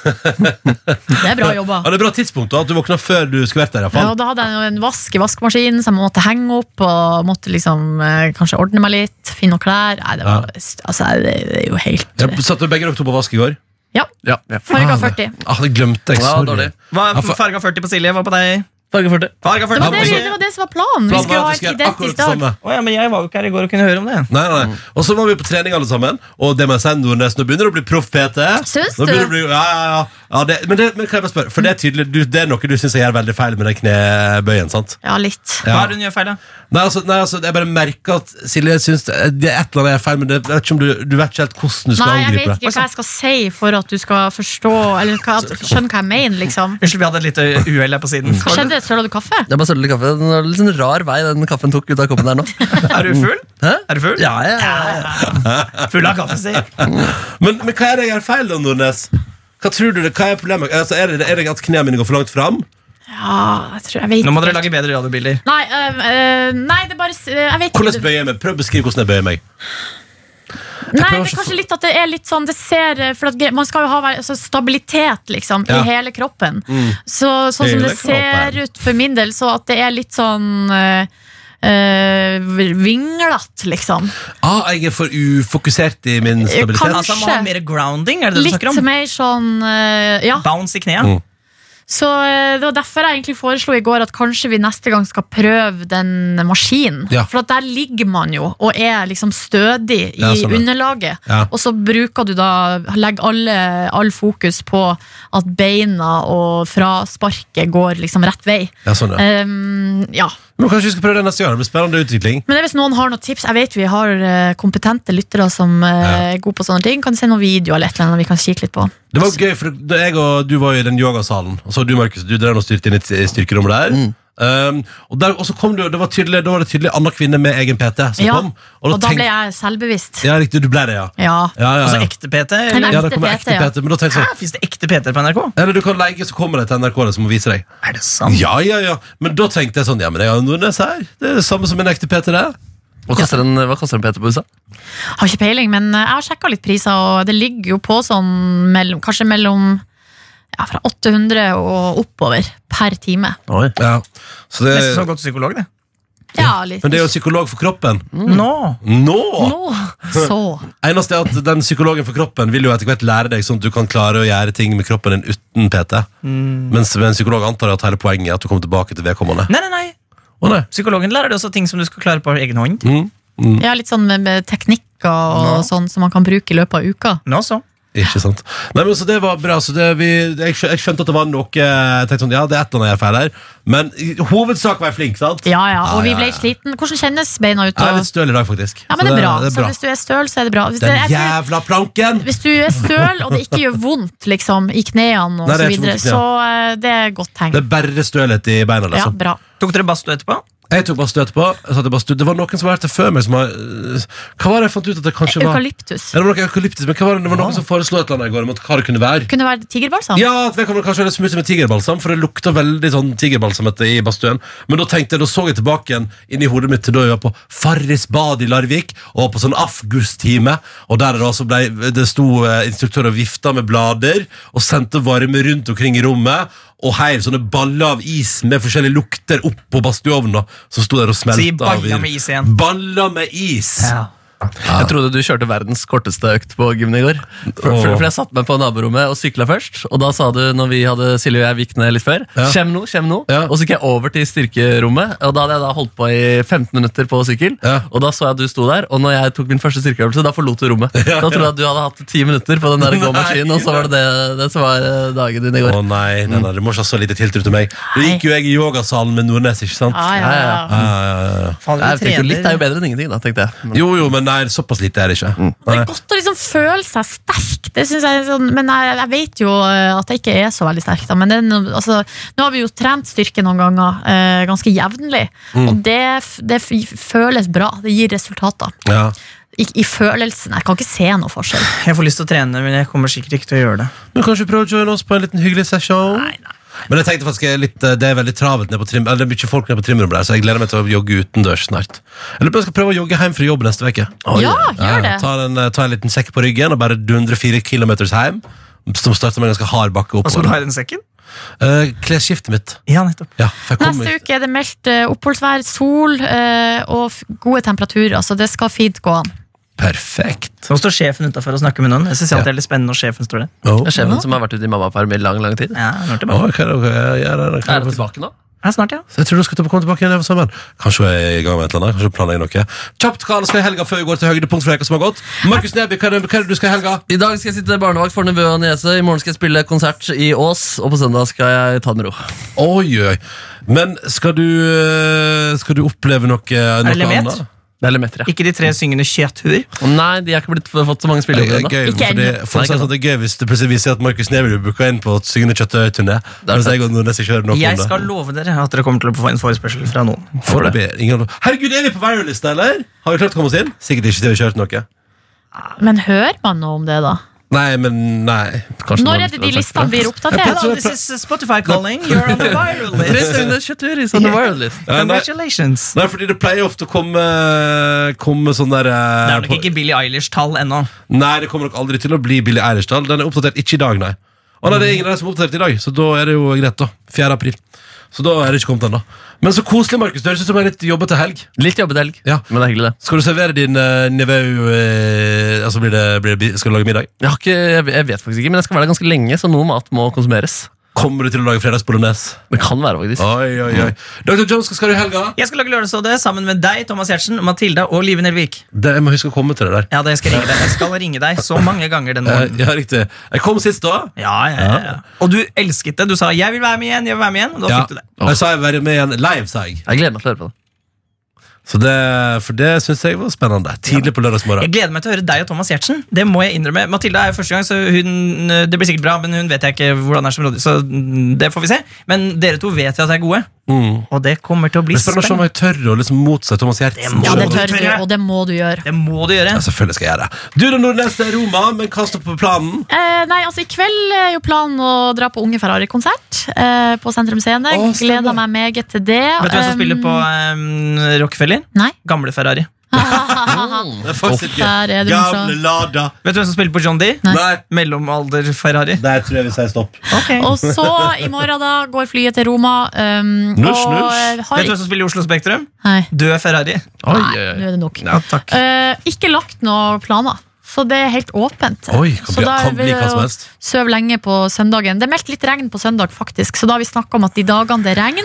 Speaker 4: Det er bra jobba.
Speaker 2: Ja, det er bra tidspunkt da, at du våkna før du skulle vært der. i hvert
Speaker 4: Ja,
Speaker 2: fall.
Speaker 4: og da hadde jeg jo en vask i vaskemaskinen som jeg måtte henge opp. Og måtte liksom eh, kanskje ordne meg litt, finne noen klær. Nei, det var altså, det, det er jo helt
Speaker 2: Jeg satt jo begge dere to på vask i går.
Speaker 4: Ja,
Speaker 5: Ja, ja.
Speaker 4: farga 40.
Speaker 2: Ah, det glemte jeg.
Speaker 5: Ja,
Speaker 2: Sorry.
Speaker 5: dårlig.
Speaker 3: Hva,
Speaker 2: Ja, for-
Speaker 3: farga 40 på Silje, hva på deg?
Speaker 5: Farge 40.
Speaker 3: Farga
Speaker 4: Det
Speaker 3: 40
Speaker 4: var
Speaker 3: på
Speaker 4: det, vi,
Speaker 3: Silje.
Speaker 4: det var det som var planen. Vi
Speaker 2: Planen
Speaker 4: skulle
Speaker 2: var
Speaker 4: ha
Speaker 2: at vi
Speaker 4: en
Speaker 2: skulle gjøre akkurat
Speaker 4: identisk Mm.
Speaker 2: det
Speaker 4: dag.
Speaker 2: samme.
Speaker 3: Å ja, men jeg var jo ikke her i går og kunne høre om det.
Speaker 2: Nei, nei, nei. Og så var vi på trening alle sammen, og det med Svein Nordnes. Nå begynner det å bli proff PT.
Speaker 4: Syns
Speaker 2: Nå
Speaker 4: du?
Speaker 2: begynner det å bli, ja, ja, ja. ja det, men, det, men kan jeg bare spørre, for det er tydelig, du, det er noe du syns jeg gjør veldig feil med den knebøyen, sant?
Speaker 4: Ja, litt.
Speaker 3: Hva
Speaker 2: Ja.
Speaker 3: er det hun gjør feil, da?
Speaker 2: Nei, altså, nei, altså, jeg bare merker at Silje syns det det er et eller annet jeg er feil, men det, jeg vet ikke om du, du vet ikke helt hvordan du skal
Speaker 4: Nei, jeg vet
Speaker 2: angripe det.
Speaker 4: ikke hva jeg skal si for at du skal forstå Eller hva, at, skjønne hva jeg mener, liksom.
Speaker 3: Unnskyld, vi hadde et lite uhell her på siden.
Speaker 4: Hva skjedde? Søla du kaffe?
Speaker 5: Det er bare sølvlig kaffe. Den var litt sånn rar vei den kaffen tok ut av koppen der nå.
Speaker 3: Er du full?
Speaker 5: Hæ?
Speaker 3: Er du full?
Speaker 5: Ja, ja, ja.
Speaker 3: Full av kaffe, si.
Speaker 2: Men, men hva er det jeg gjør feil, da, Nordnes? Hva tror du det, hva er problemet? Altså, er, det, er det at knærne mine går for langt fram?
Speaker 4: Ja, jeg tror jeg
Speaker 3: [laughs]
Speaker 4: vet
Speaker 3: Nå må
Speaker 4: ikke.
Speaker 3: dere lage bedre radiobilder.
Speaker 4: Nei, øh, øh, nei, det er bare s- Jeg vet
Speaker 2: Hvordan
Speaker 4: ikke.
Speaker 2: bøyer jeg meg? Prøv å beskrive hvordan jeg bøyer meg.
Speaker 4: Nei,
Speaker 2: prøver
Speaker 4: det er
Speaker 2: ikke å
Speaker 4: kanskje litt at det er litt sånn Det ser eh, For at ge- man skal jo ha vei- altså, stabilitet, liksom,
Speaker 2: Ja. Mm.
Speaker 4: i hele kroppen. Så, sånn som
Speaker 2: Hele
Speaker 4: det ser
Speaker 2: kroppen.
Speaker 4: ut for min del, så at det er litt sånn øh, øh, vinglete, liksom.
Speaker 2: Ah, jeg er for ufokusert i min
Speaker 4: Jeg kan-
Speaker 2: stabilitet.
Speaker 3: Altså, man har mer grounding, er det det du
Speaker 4: Litt
Speaker 3: snakker om?
Speaker 4: mer sånn øh, Ja,
Speaker 3: Bounce i knærne.
Speaker 4: Så eh, Det var derfor jeg egentlig foreslo i går at kanskje vi neste gang skal prøve den maskinen.
Speaker 2: Ja.
Speaker 4: For at der ligger man jo og er liksom stødig i
Speaker 2: Ja, sånn, ja.
Speaker 4: underlaget.
Speaker 2: Ja.
Speaker 4: Og så bruker du da Legger alle, all fokus på at beina og frasparket går liksom rett vei.
Speaker 2: Ja, sånn, ja.
Speaker 4: Ehm, ja.
Speaker 2: Men Kanskje vi skal prøve det neste gang. Det blir spennende utvikling.
Speaker 4: Men hvis noen har noen tips Jeg vet vi har eh, kompetente lyttere som eh, er gode på sånne ting. Kan du se noen videoer eller et eller annet vi kan kikke litt på?
Speaker 2: Det var gøy, for da jeg og du var jo i den yogasalen, og så du, Markus, du drev og styrte inn i t- styrkerommet der. Um, og, der, og så kom du, og det var tydelig, da var det tydelig annen kvinne med egen PT som
Speaker 4: Ja,
Speaker 2: kom.
Speaker 4: Og da
Speaker 2: tenk-
Speaker 4: ble jeg selvbevisst.
Speaker 2: Ja, riktig, du ble det, ja.
Speaker 4: Ja.
Speaker 2: Ja, ja,
Speaker 3: Altså
Speaker 2: ja.
Speaker 3: ekte PT?
Speaker 4: Nei,
Speaker 3: Eller?
Speaker 2: ja, det kommer ekte
Speaker 4: ekte PT, ja.
Speaker 2: PT, men da tenkte jeg sånn
Speaker 3: Fins det ekte PT-er på NRK?
Speaker 2: Eller du kan leie, så kommer de til NRK det, som må vise deg.
Speaker 3: Er det sant?
Speaker 2: Ja, ja, ja. Men da tenkte jeg sånn, ja, men jeg har jo Nordnes her. Det er det samme som en ekte PT, det.
Speaker 5: Hva koster en, hva koster en PT på USA?
Speaker 4: Har ikke peiling, men jeg har sjekka litt priser, og det ligger jo på sånn mellom, kanskje mellom ja, fra 800 og oppover per time.
Speaker 5: Oi.
Speaker 2: Ja. Så det,
Speaker 3: Nesten som å gå til psykolog, det.
Speaker 4: Ja, litt. sånn
Speaker 2: men det er jo psykolog for kroppen.
Speaker 4: Mm.
Speaker 3: Nå!
Speaker 2: Nå!
Speaker 4: Nå, så.
Speaker 2: Eneste er at den psykologen for kroppen vil jo etter hvert lære deg sånn at du kan klare å gjøre ting med kroppen din uten PT.
Speaker 4: Mm.
Speaker 2: Mens med en psykolog antar jeg at hele poenget er at du kommer tilbake til vedkommende.
Speaker 3: Nei, nei, nei. Mm.
Speaker 2: Å nei.
Speaker 3: Psykologen lærer deg også ting som du skal klare på egen hånd.
Speaker 4: Ja, litt sånn med, med teknikker og sånn som man kan bruke i løpet av uka.
Speaker 3: Nå så.
Speaker 2: Ikke sant. Nei, men så det var bra. Så det, vi, jeg, skjø- jeg skjønte at det var noe Jeg tenkte sånn, ja, det er et eller annet jeg er feil her. Men i hovedsak var jeg flink, sant?
Speaker 4: Ja, ja,
Speaker 2: Ja,
Speaker 4: og vi
Speaker 2: ja,
Speaker 4: ble
Speaker 2: ja.
Speaker 4: sliten. Hvordan kjennes beina ut?
Speaker 2: Jeg er
Speaker 4: Og...
Speaker 2: litt støl i dag, faktisk.
Speaker 4: Ja, men
Speaker 2: Så
Speaker 4: det er bra.
Speaker 2: det er
Speaker 4: Så hvis du er støl, så er det bra. Hvis, det,
Speaker 2: Den
Speaker 4: jeg tror,
Speaker 2: jævla planken!
Speaker 4: hvis du er støl, og det ikke gjør vondt liksom, i knærne,
Speaker 2: Nei,
Speaker 4: og
Speaker 2: det
Speaker 4: så,
Speaker 2: er ikke
Speaker 4: videre,
Speaker 2: vondt i knærne.
Speaker 4: så eh, det er et godt tegn.
Speaker 2: Det er bare stølhet i beina,
Speaker 4: Ja,
Speaker 2: liksom.
Speaker 4: bra.
Speaker 3: Tok dere badstue etterpå?
Speaker 2: Jeg tok bare støt på. Jeg satte bare støt. Det var noen som var her til før meg som har øh, Hva var det jeg fant ut at det kanskje var Ja,
Speaker 4: Eukalyptus.
Speaker 2: Det var noe eukalyptisk, men hva var det, det var noen som foreslo et eller annet i går om at hva det kunne være.
Speaker 4: Kunne være tigerbalsam.
Speaker 2: Ja, at vi kan vel kanskje smuse med tigerbalsam, for det lukta veldig sånn tigerbalsam etter i badstuen. Men da tenkte jeg, da så jeg tilbake igjen inn i hodet mitt til da jeg var på Farris bad i Larvik, og på sånn afgustime, og der det altså ble, det sto eh, instruktør og vifta med blader, og sendte varme rundt omkring i rommet, og heiv sånne baller av is med forskjellige lukter opp på badstueovnen, da, som sto der og smelta.
Speaker 3: Si baller
Speaker 2: av-
Speaker 3: med is igjen.
Speaker 2: Baller med is!
Speaker 5: Jeg trodde du kjørte verdens korteste økt på gymmen i går. For, for, for jeg satte meg på naborommet og sykla først. Og da sa du, når vi hadde Silje og jeg gikk ned litt før,
Speaker 2: Ja.
Speaker 5: kjem nå, kjem nå.
Speaker 2: Ja.
Speaker 5: Og så gikk jeg over til styrkerommet, og da hadde jeg da holdt på i 15 minutter på sykkel.
Speaker 2: Ja.
Speaker 5: Og da så jeg at du sto der, og når jeg tok min første styrkeøvelse, da forlot du
Speaker 2: [laughs]
Speaker 5: rommet. Da trodde jeg at du hadde hatt 10 minutter på den der gåmaskinen, og så var det det, det som var eh, dagen din i går.
Speaker 2: Å nei, nei,
Speaker 4: Mm.
Speaker 2: nei, du må ikke ha så lite tiltro til meg. Da gikk jo jeg i yogasalen med Nordnes, ikke sant?
Speaker 4: Ja, ja, ja.
Speaker 5: Ja,
Speaker 2: ja, ja.
Speaker 3: Faen,
Speaker 5: Jeg
Speaker 3: vi
Speaker 5: tenkte, jo, litt er
Speaker 3: trener.
Speaker 5: jo bedre enn ingenting, da, tenkte jeg. Men-
Speaker 2: Jo, jo, men nei, såpass lite er det ikke.
Speaker 4: Det
Speaker 2: Nei.
Speaker 4: er godt å liksom føle seg sterk, det synes jeg, er sånn, men jeg, jeg vet jo eh, at jeg ikke er så veldig sterk. Da. Men det, er noe- altså, nå har vi jo trent styrke noen ganger, eh, ganske jevnlig. Og det, f- det f- føles bra. Det gir resultater.
Speaker 2: Ja.
Speaker 4: I, I følelsen. Jeg kan ikke se noe forskjell.
Speaker 3: Jeg får lyst til å trene, men jeg kommer sikkert ikke til å gjøre det.
Speaker 2: Men kanskje prøve å joine oss på en liten hyggelig session? Men jeg tenkte faktisk jeg er litt, eh, det er veldig travelt ned på trim, eller det er mye folk ned på trimrommet der, så jeg gleder meg til å jogge utendørs snart. Jeg lurer på om jeg skal prøve å jogge hjem fra jobb neste uke.
Speaker 4: Ja, gjør det.
Speaker 2: Ta en, eh, ta en liten sekk på ryggen og bare dundre fire kilometers hjem, som starter med en ganske hard bakke
Speaker 3: Og så må du
Speaker 2: oppover.
Speaker 3: ha i den sekken?
Speaker 2: Eh, Klesskiftet mitt.
Speaker 3: Ja, nettopp.
Speaker 2: Ja, for jeg kommer.
Speaker 4: Neste uke er det meldt eh, oppholdsvær, sol eh, og f- gode temperaturer, så det skal fint gå an.
Speaker 2: Perfekt.
Speaker 3: Nå står sjefen utafor og snakker med noen. Jeg synes alltid det er litt spennende når sjefen står der.
Speaker 2: Åh,
Speaker 5: Det er sjefen som har vært ute i mammaperm i lang, lang tid.
Speaker 3: Ja, nå er det
Speaker 2: Åh,
Speaker 3: bare.
Speaker 2: hva er det- hva er det- ja, det er det-
Speaker 5: Er det tilbake nå?
Speaker 3: Ja, snart, ja.
Speaker 2: Så jeg tror du skal ta- komme tilbake igjen over sommeren. Kanskje jeg er i gang med et eller annet. Kanskje jeg planlegger noe. Kjapt, hva skal i helga før vi går til høydepunkt for uka som har gått? Markus Neby, hva er det, hva er det du skal i helga?
Speaker 5: I dag skal jeg sitte barnevakt for nevø og niese. I morgen skal jeg spille konsert i Ås. Og på søndag skal jeg ta det med ro.
Speaker 2: Oi, oi. Men skal du, eh, skal du oppleve noe, noe
Speaker 3: det lemet?
Speaker 2: annet?
Speaker 5: Det er Lemeter, ja.
Speaker 3: Ikke de tre syngende kjøthuer.
Speaker 5: Å Nei, de har ikke blitt fått så mange
Speaker 2: Det er
Speaker 5: spillejobber ennå.
Speaker 2: gøy, for
Speaker 4: Ikke
Speaker 2: det, for
Speaker 5: Nei,
Speaker 2: det, er sånn at det er gøy hvis det plutselig viser seg at Markus Neby blir booka inn på et syngende kjøttøy-turné. Mens jeg og Nordnes ikke hører noe
Speaker 3: Jeg
Speaker 2: om
Speaker 3: skal
Speaker 2: det.
Speaker 3: love dere at dere kommer til å få en forespørsel fra noen.
Speaker 2: Foreløpig ingen- Herregud, er vi på viralista, eller? Har vi klart å komme oss inn? Sikkert ikke til vi har kjørt noe.
Speaker 4: Men hører man noe om det, da?
Speaker 2: Nei, men nei. Kanskje noen-
Speaker 4: Når er det de listene blir oppdatert?
Speaker 3: Hello, this is Spotify calling. You're
Speaker 2: [laughs]
Speaker 3: on the viral
Speaker 5: Tre
Speaker 3: list.
Speaker 5: sønne kjøttur i sånn [laughs] Sunday Wild List.
Speaker 2: Ja, nei.
Speaker 3: Congratulations.
Speaker 2: Nei, fordi det pleier ofte å komme, komme sånn der eh,
Speaker 3: Det er nok
Speaker 2: på-
Speaker 3: ikke Billie Eilish-tall ennå.
Speaker 2: Nei, det kommer nok aldri til å bli Billy Eilish-tall. Den er oppdatert ikke i dag, nei. Å nei, det er ingen av dem som er oppdatert i dag, så da er det jo greit, da. 4. april. Så da er det ikke kommet ennå. Men så koselig, Markus. Det høres ut som en litt jobbete helg.
Speaker 5: Litt jobbete helg,
Speaker 2: Ja.
Speaker 5: men det er hyggelig, det.
Speaker 2: Skal du servere din uh, nevø eh, Altså, blir det, blir det, bi- skal du lage middag?
Speaker 5: Jeg, har ikke, jeg, jeg vet faktisk ikke, men jeg skal være der ganske lenge, så noe mat må konsumeres.
Speaker 2: Kommer du til å lage fredagsbolognese?
Speaker 5: Det kan være, faktisk.
Speaker 2: Oi, oi, oi. Dr. Jones, hva skal du i helga?
Speaker 3: Jeg skal lage lørdagsrådet sammen med deg, Thomas Giertsen, Matilda og Live Nelvik.
Speaker 2: Det, jeg må huske å komme til det der.
Speaker 3: Ja, det skal jeg ringe deg. Jeg skal ringe deg så mange ganger
Speaker 2: Eh,
Speaker 3: den morgenen.
Speaker 2: ja, riktig. Jeg kom sist, da.
Speaker 3: Ja, ja, ja, ja. Og du elsket det. Du sa 'jeg vil være med igjen', jeg vil være med igjen. Og da fikk du det.
Speaker 2: Jeg sa jeg var med igjen live, sa jeg.
Speaker 5: Jeg gleder meg til å høre på det.
Speaker 2: Så det, for det syns jeg var spennende. Tidlig på lørdagsmorgen.
Speaker 3: Jeg gleder meg til å høre deg og Thomas Giertsen. Det må jeg innrømme. Matilda er jo første gang, så hun, eh, det blir sikkert bra, men hun vet jeg ikke hvordan er som rådgiver, så mm, det får vi se. Men dere to vet jeg at er gode, og det kommer til å bli
Speaker 2: Det er spennende å Mm. se om
Speaker 3: spennende.
Speaker 2: jeg tør å liksom motsi Thomas Gjertsen.
Speaker 3: må
Speaker 4: Ja, det
Speaker 3: du
Speaker 4: tør du,
Speaker 3: tørre.
Speaker 4: og det må du gjøre.
Speaker 3: Det må du gjøre.
Speaker 2: Ja, selvfølgelig skal jeg gjøre det. Du da, Nordnes, det er Roma, men hva står på planen?
Speaker 4: Eh, nei, altså I kveld er jo planen å dra på Unge Ferrari-konsert eh, på Sentrum Scene.
Speaker 2: Å, stemmer.
Speaker 4: Gleder meg meget til det.
Speaker 3: Vet du hvem som
Speaker 4: Um,
Speaker 3: spiller på eh, Rockefeller?
Speaker 4: Nei. [laughs]
Speaker 3: Gamle Ferrari.
Speaker 2: Det er faktisk ikke
Speaker 4: Der er du
Speaker 2: Gamle
Speaker 4: morsom.
Speaker 2: Lada.
Speaker 3: Vet du hvem som spiller på John D?
Speaker 4: Nei.
Speaker 2: Nei,
Speaker 3: Mellomalder Ferrari.
Speaker 2: der tror jeg vi sier stopp.
Speaker 4: Og så, i morgen, da, går flyet til Roma. Um,
Speaker 2: Nusj,
Speaker 4: og,
Speaker 2: nusj.
Speaker 4: eh,
Speaker 3: Vet du
Speaker 4: Har,
Speaker 3: hvem som spiller i Oslo Spektrum?
Speaker 4: nei,
Speaker 3: Død Ferrari.
Speaker 5: Oi,
Speaker 4: nei,
Speaker 5: oi, oi.
Speaker 4: nå er det nok.
Speaker 3: Ja, takk.
Speaker 4: Eh, ikke lagt noen planer. så det er helt åpent.
Speaker 2: Oi, kan
Speaker 4: Så
Speaker 2: bli,
Speaker 4: da
Speaker 2: kan
Speaker 4: vil
Speaker 2: bli hva
Speaker 4: jeg
Speaker 2: som
Speaker 4: jo-
Speaker 2: helst.
Speaker 4: Søv lenge på søndagen. Det er meldt litt regn på søndag, faktisk, så da har vi snakka om at de dagene det er regn,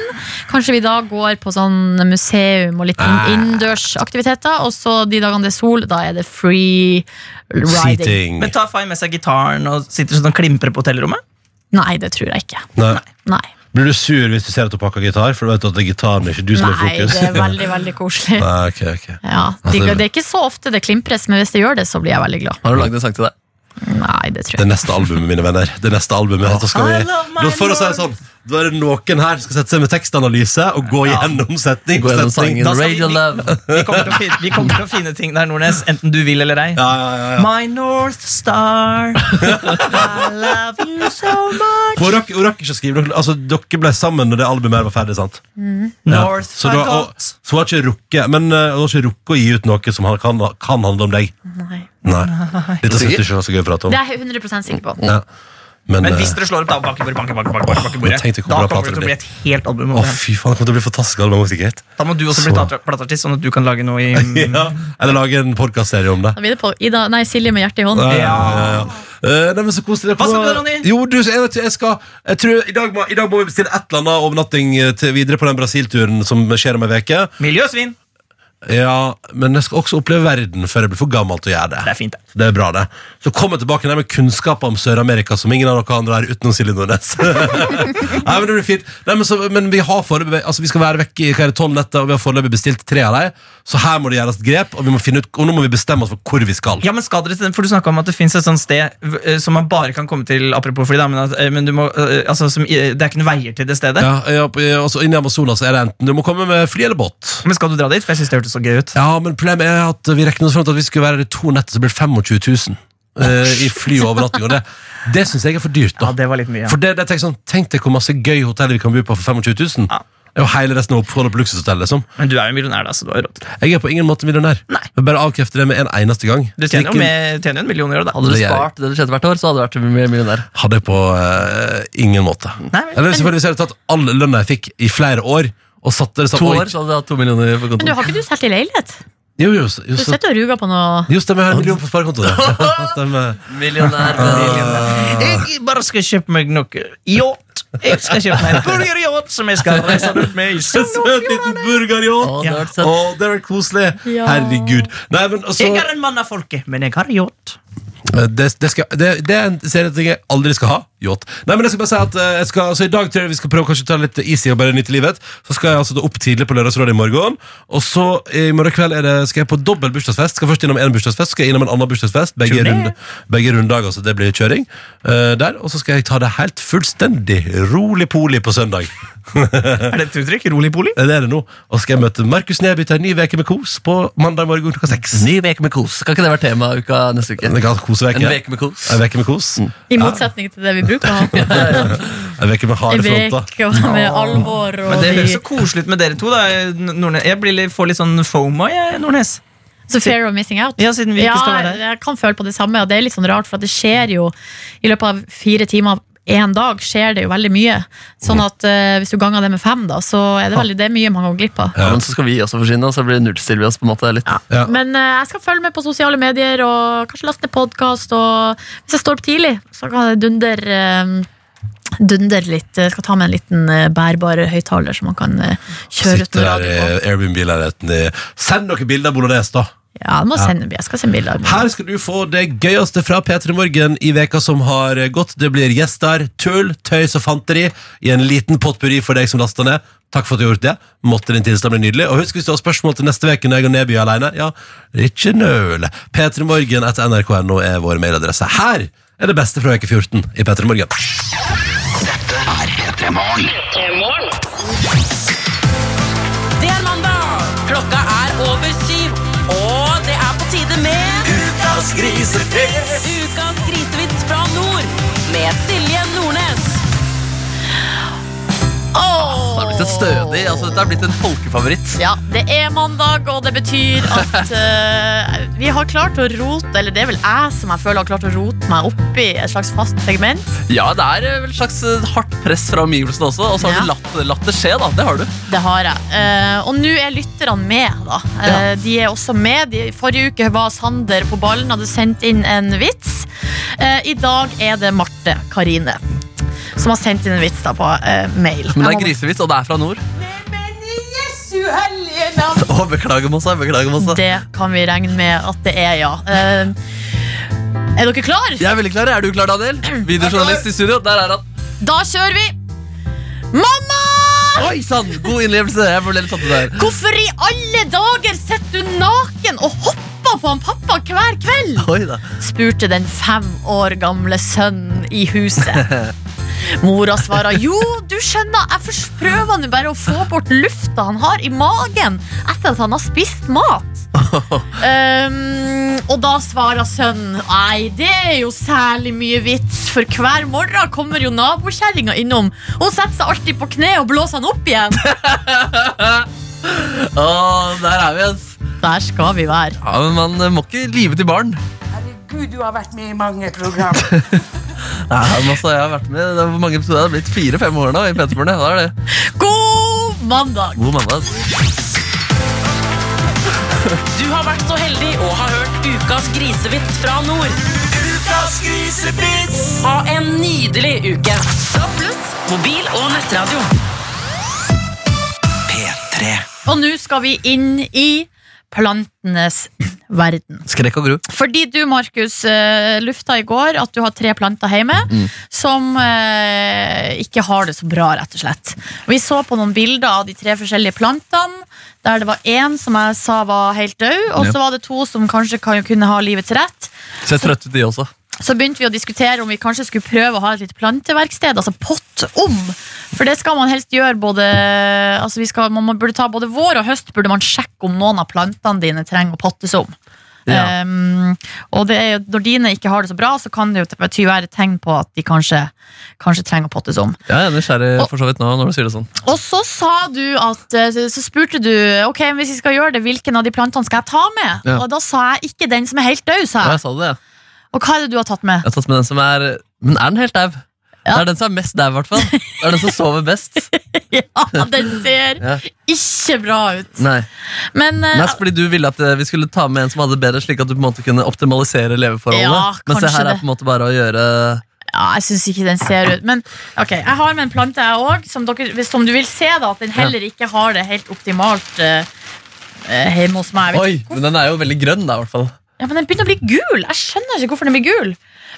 Speaker 4: kanskje vi da går på sånn museum og litt
Speaker 2: Ah.
Speaker 4: in innendørsaktiviteter, og så de dagene det er sol, da er det free riding.
Speaker 2: Seating.
Speaker 3: Men tar Fay med seg gitaren og sitter sånn og klimprer på hotellrommet?
Speaker 4: Nei, det tror jeg ikke.
Speaker 2: Nei.
Speaker 4: Nei,
Speaker 2: Blir du sur hvis du ser at hun pakker gitar? For du vet at det er gitaren, ikke du som er
Speaker 4: Nei
Speaker 2: fokus.
Speaker 4: det er veldig, veldig koselig.
Speaker 2: [laughs] Nei, ok, ok.
Speaker 4: Ja,
Speaker 2: Altså,
Speaker 4: de,
Speaker 2: det-
Speaker 4: det er ikke så ofte det klimpres, men hvis det gjør det, så blir jeg veldig glad.
Speaker 5: Har du lagd en sang til deg?
Speaker 4: Nei, det
Speaker 2: Det
Speaker 4: tror jeg ikke.
Speaker 2: neste albumet, mine venner. Det neste albumet Da skal vi
Speaker 3: I love my
Speaker 2: da For å si det
Speaker 3: lord.
Speaker 2: sånn Da er det noen her som skal sette seg med tekstanalyse og gå gjennom setning.
Speaker 5: Gå
Speaker 2: for
Speaker 5: gjennom
Speaker 2: setning.
Speaker 5: sangen
Speaker 3: Da skal vi-
Speaker 5: Radio Love.
Speaker 3: Vi kommer, til å finne, vi kommer til å finne ting der, Nordnes, enten du vil eller ei.
Speaker 2: Ja, ja, ja, ja.
Speaker 3: My North
Speaker 2: [laughs]
Speaker 3: Star, I love you so much.
Speaker 2: For dere, og dere, ikke skriver, dere, altså, dere ble sammen når det albumet her var ferdig, sant? Ja.
Speaker 3: North
Speaker 2: Så du har, og,
Speaker 3: Forgot.
Speaker 2: så hun har ikke rukket Men eh, hun har ikke rukket å gi ut noe som han kan, kan handle om deg.
Speaker 4: Nei.
Speaker 2: Nei. Dette syns du ikke var så gøy å prate om.
Speaker 4: Det er jeg 100 sikker på.
Speaker 2: Ja. Men,
Speaker 3: Men
Speaker 2: eh,
Speaker 3: hvis dere slår opp da, bakkebordet, banke, banke, banke, banke, banke, bordet,
Speaker 2: Men tenk deg hvor
Speaker 3: da
Speaker 2: bra
Speaker 3: kommer
Speaker 2: plater
Speaker 3: det til å bli
Speaker 2: det
Speaker 3: et helt album.
Speaker 2: Å,
Speaker 3: over det.
Speaker 2: fy faen, det kommer til å bli fantastisk album. sikkert.
Speaker 3: Da må du også bli
Speaker 2: Så-
Speaker 3: plate- plateartist, sånn at du kan lage noe
Speaker 2: [laughs]
Speaker 3: i
Speaker 2: Ja. Eller lage en podkastserie om det.
Speaker 4: Da er vi det på Ida, nei, Silje med hjertet i hånden.
Speaker 2: Ja, ja, ja. Eh, nei, men så koselig.
Speaker 3: Hva skal du gjøre, Ronny?
Speaker 2: Jo, du, jeg, vet, jeg skal jeg tror, i, dag må, I dag må vi bestille et eller annet overnatting eh, til videre på den Brasil-turen som skjer om ei uke.
Speaker 3: Miljøsvin!
Speaker 2: Ja, men jeg skal også oppleve verden før jeg blir for gammel til å gjøre det.
Speaker 3: Det er fint, det.
Speaker 2: Det er bra, det. Så kom jeg tilbake der med kunnskap om Sør-Amerika som ingen av dere andre er utenom Silje Nordnes. [laughs] Nei, men det blir fint. Nei, men, så, men vi har foreløpig Altså, vi skal være vekk i hva er det, tolv netter, og vi har foreløpig bestilt tre av dem. Så her må det gjøres grep, og, vi må finne ut, og nå må vi bestemme oss for hvor vi skal.
Speaker 3: Ja, men skal dere til den? For Du snakka om at det fins et sånt sted eh, som man bare kan komme til Apropos fly, da, men, at, eh, men du må, eh, altså, som, eh, det er ikke noen veier til det stedet.
Speaker 2: Ja, ja, på- ja, altså Inni Amazonas er det enten du må komme med fly eller båt.
Speaker 3: Men skal du dra dit? For jeg synes det hørtes så gøy ut.
Speaker 2: Ja, men problemet er at vi regner oss frem til at vi skulle være der i to netter, så blir det 25 000 eh, i fly og overnatting. Og det, det syns jeg er for dyrt.
Speaker 3: Ja,
Speaker 2: da
Speaker 3: det var litt mye.
Speaker 2: For det, det tenk sånn, Tenk deg hvor masse gøy hotell vi kan bo på for 25 000.
Speaker 3: Ja.
Speaker 2: Det er jo hele resten av oppholdet på luksushotell. liksom
Speaker 3: Men du er jo millionær, da, så du har jo råd. til det.
Speaker 2: Jeg er på ingen måte millionær. Jeg bare avkrefter det med en eneste gang.
Speaker 3: Du tjener
Speaker 2: Ikke-
Speaker 3: jo med, tjener jo en million i året, da.
Speaker 5: Hadde du
Speaker 2: Det gjør jeg.
Speaker 5: spart det du tjente hvert år, så hadde du vært millionær.
Speaker 2: Hadde jeg på eh, ingen måte.
Speaker 3: Nei, men-
Speaker 2: Eller selvfølgelig så hadde jeg tatt all lønna jeg fikk i flere år, og satt der
Speaker 5: To år, så hadde du hatt to millioner på
Speaker 4: Men du
Speaker 5: kontoen.
Speaker 4: har ikke du solgt i leilighet?
Speaker 2: Jo, jo, jo,
Speaker 4: Du
Speaker 2: så-
Speaker 4: sitter og ruger på noe
Speaker 2: jo, stemmer. Jeg har en
Speaker 3: [laughs]
Speaker 2: million på sparekontoen. [laughs] Stemmer.
Speaker 5: Millionær.
Speaker 3: Jeg bare skal kjøpe meg noe yacht. Jeg skal kjøpe
Speaker 5: [laughs]
Speaker 3: meg en burgeryacht som jeg skal reise rundt med i
Speaker 2: Søt liten burgeryacht.
Speaker 5: Å, det hadde
Speaker 2: Å,
Speaker 5: vært søtt.
Speaker 2: det har vært koselig.
Speaker 4: Ja.
Speaker 2: Herregud. Nei, men altså,
Speaker 3: Jeg er en mann av folket, men jeg har yacht.
Speaker 2: Eh, det, det, skal, det, det er en serieting jeg aldri skal ha. Yacht. Nei, men jeg skal bare si at eh, jeg skal, altså, I dag tror jeg vi skal prøve kanskje å ta litt easy og bare nyte livet. Så skal jeg altså da opp tidlig på Lørdagsrådet i morgen. Og så eh, i morgen kveld er det, skal jeg på dobbel bursdagsfest. Skal først innom en bursdagsfest, skal jeg innom en annen bursdagsfest. Begge,
Speaker 3: Turné.
Speaker 2: runde, begge runddager, så det blir kjøring eh, der. Og så skal jeg ta det helt fullstendig rolig-poli på søndag. Eh,
Speaker 3: Er det et uttrykk? Rolig-poli?
Speaker 2: Det er det nå. Og så skal jeg møte Markus Neby til en ny veke med kos på mandag morgen klokka seks.
Speaker 5: Ny uke med kos. Kan ikke det være tema uka neste uke?
Speaker 2: En
Speaker 5: En
Speaker 2: koseveke.
Speaker 5: uke Mm. med kos.
Speaker 2: En veke med kos.
Speaker 4: I motsetning til det vi bruker
Speaker 3: [laughs]
Speaker 4: å ha.
Speaker 2: En veke med harde
Speaker 4: En
Speaker 2: fronter.
Speaker 4: vek og med alvor og
Speaker 3: Men Det høres
Speaker 4: de,
Speaker 3: så koselig ut med dere to. da N- Nordnes. Jeg blir litt, får litt sånn FOMO, jeg, Nordnes.
Speaker 4: Så fear of missing out.
Speaker 3: Ja, siden vi ikke skal være her.
Speaker 4: jeg kan føle på det samme, og det er litt sånn rart, for at det skjer jo i løpet av fire timer en dag skjer det jo veldig mye.
Speaker 3: Mm.
Speaker 4: Sånn at eh, hvis du ganger det med fem, da, så er det veldig det er mye man går glipp av.
Speaker 5: Ja, men så skal vi også forsyne oss, så blir det nullstiller vi oss på en måte litt.
Speaker 2: Ja.
Speaker 4: Men eh, jeg skal følge med på sosiale medier og kanskje laste ned podkast. Og hvis jeg står opp tidlig, så kan jeg dunder, eh, dunder litt. Jeg skal ta med en liten eh, bærbar høyttaler som man kan eh, kjøre ut
Speaker 2: Sitter
Speaker 4: med
Speaker 2: der
Speaker 4: radio
Speaker 5: eh,
Speaker 4: på.
Speaker 2: i Airbnb-leiligheten i Send noen bilder av Bolognese, da!
Speaker 4: Ja, du må sende, jeg skal sende bilder.
Speaker 2: Her skal du få det gøyeste fra P3 Morgen i veka som har gått. Det blir gjester, tull, tøys og fanteri i en liten potpurri for deg som lasta ned. Takk for at du har gjort det. Måtte din tilstand bli nydelig. Og husk hvis du har spørsmål til neste uke når jeg og Neby er alene, ja, ikke nøl. P3morgen etter nrk.no er vår mailadresse. Her er det beste fra uke 14 i P3 Morgen.
Speaker 1: Det er mandag! Klokka er over syv, og det er på tide med Ukas grisevits fra nord med Silje Nordnes.
Speaker 5: Det har blitt et stødig, altså dette har blitt en folkefavoritt.
Speaker 4: Ja, det er mandag, og det betyr
Speaker 5: [laughs]
Speaker 4: at eh, vi har klart å rote Eller det er vel jeg som jeg føler har klart å rote meg oppi et slags fast segment.
Speaker 5: Ja, det er vel et slags eh, hardt press fra omgivelsene også, og så har
Speaker 4: Ja.
Speaker 5: du latt, latt det skje, da. Det har du.
Speaker 4: Det har jeg. Eh, og nå er lytterne med, da. Eh, De er også med. De, forrige uke var Sander på ballen, hadde sendt inn en vits. Eh, I dag er det Marte Karine som har sendt inn en vits da på eh, mail.
Speaker 5: Men det
Speaker 4: Jeg
Speaker 5: er
Speaker 4: må-
Speaker 5: grisevits, og det er fra nord. Å, beklager, Mossa. Beklager, Mossa.
Speaker 4: Det kan vi regne med at det er, ja. Eh, er dere klar?
Speaker 5: Jeg er veldig klar. Er du klar, Daniel? Videojournalist i studio. Der er han.
Speaker 4: Da kjører vi! Mamma!
Speaker 5: Oi sann! God innlevelse. Jeg ble litt satt ut der.
Speaker 4: Hvorfor i alle dager sitter du naken og hopper på han pappa hver kveld?
Speaker 5: Oi da.
Speaker 4: spurte den fem år gamle sønnen i huset. Mora svarer jo, du skjønner, jeg fors- prøver nå bare å få bort lufta han har i magen etter at han har spist mat. Um, og da svarer sønnen nei, det er jo særlig mye vits, for hver morgen kommer jo nabokjerringa innom. Hun setter seg alltid på kne og blåser han opp igjen.
Speaker 5: Å, der er vi, ass.
Speaker 4: Der skal vi være.
Speaker 5: Ja, men Man eh, må ikke lyve til barn.
Speaker 1: Herregud, du har vært med i mange program.
Speaker 5: [laughs] Nei, men altså, jeg har vært med det er Hvor mange episoder? Det har blitt fire-fem år nå i Peterborne. Da er det
Speaker 4: God mandag!
Speaker 5: god mandag. ass.
Speaker 1: Du har vært så heldig og har hørt ukas grisevits fra nord. Ukas grisevits! Ha en nydelig uke. Stå pluss, mobil og nettradio.
Speaker 4: Og nå skal vi inn i plantenes verden.
Speaker 5: Skrekk og gru.
Speaker 4: Fordi du, Markus, eh, lufta i går at du har tre planter hjemme som eh, ikke har det så bra, rett og slett. Vi så på noen bilder av de tre forskjellige plantene, der det var én som jeg sa var helt død, og
Speaker 5: Ja.
Speaker 4: så var det to som kanskje kan, kunne ha livets rett.
Speaker 5: Ser trøtt ut, de også.
Speaker 4: Så begynte vi å diskutere om vi kanskje skulle prøve å ha et lite planteverksted, altså pott om. For det skal man helst gjøre både altså vi skal, Man må- burde ta både vår og høst burde man sjekke om noen av plantene dine trenger å pottes om.
Speaker 5: Ja.
Speaker 4: Um, og det er, jo- når dine ikke har det så bra, så kan det jo bety være et tegn på at de kanskje, kanskje trenger å pottes om.
Speaker 5: Jeg er nysgjerrig for så vidt nå når du sier det sånn.
Speaker 4: Og så sa du at eh, Så spurte du Ok, hvis vi skal gjøre det, hvilken av de plantene skal jeg ta med?
Speaker 5: Ja.
Speaker 4: Og da sa jeg ikke den som er helt død, sa
Speaker 5: Ja,
Speaker 4: jeg.
Speaker 5: jeg sa det, ja.
Speaker 4: Og hva er det du har tatt med?
Speaker 5: Jeg har tatt med den som er Men er den helt dau? Det er den som er mest dau, i hvert fall. Det er den som sover [laughs] best.
Speaker 4: Ja, den ser
Speaker 5: Ja.
Speaker 4: ikke bra ut.
Speaker 5: Nei.
Speaker 4: Men eh,
Speaker 5: Nei, så fordi du ville at eh, vi skulle ta med en som hadde det bedre, slik at du på en måte kunne optimalisere leveforholdene.
Speaker 4: Ja,
Speaker 5: Men se
Speaker 4: kanskje
Speaker 5: her er
Speaker 4: det.
Speaker 5: på en måte bare å gjøre
Speaker 4: ja, jeg syns ikke den ser ut. Men ok, jeg har med en plante, jeg òg, som, dere- hvis- som du vil se, da, at den heller ikke har det helt optimalt eh, eh, hjemme hos meg. Jeg vet
Speaker 5: Oi, men den er jo veldig grønn, da, i hvert fall.
Speaker 4: Ja, men den begynner å bli gul. Jeg skjønner ikke hvorfor den blir gul.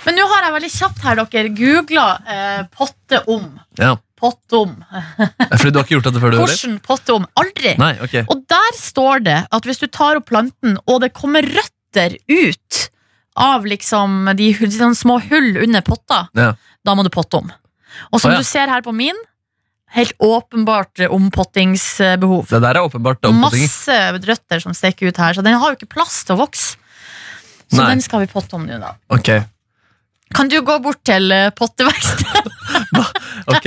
Speaker 4: Men nå har jeg veldig kjapt her, dere, googla eh, potte om.
Speaker 5: Ja.
Speaker 4: Potte om.
Speaker 5: Fordi du har ikke gjort dette før, du heller?
Speaker 4: Hvordan potte om? Aldri.
Speaker 5: Nei, ok.
Speaker 4: Og der står det at hvis du tar opp planten, og det kommer røtter ut av liksom de, hu- de sånne små hull under potta,
Speaker 5: Ja.
Speaker 4: da må du potte om. Og som
Speaker 5: Å, ja.
Speaker 4: du ser her på min, helt åpenbart ompottingsbehov.
Speaker 5: Det der er åpenbart ompotting.
Speaker 4: Masse røtter som stikker ut her, så den har jo ikke plass til å vokse. Så
Speaker 5: Nei.
Speaker 4: den skal vi potte om nå, da.
Speaker 5: Ok.
Speaker 4: Kan du gå bort til eh,
Speaker 5: [laughs]
Speaker 4: potteverkstedet?
Speaker 5: ok.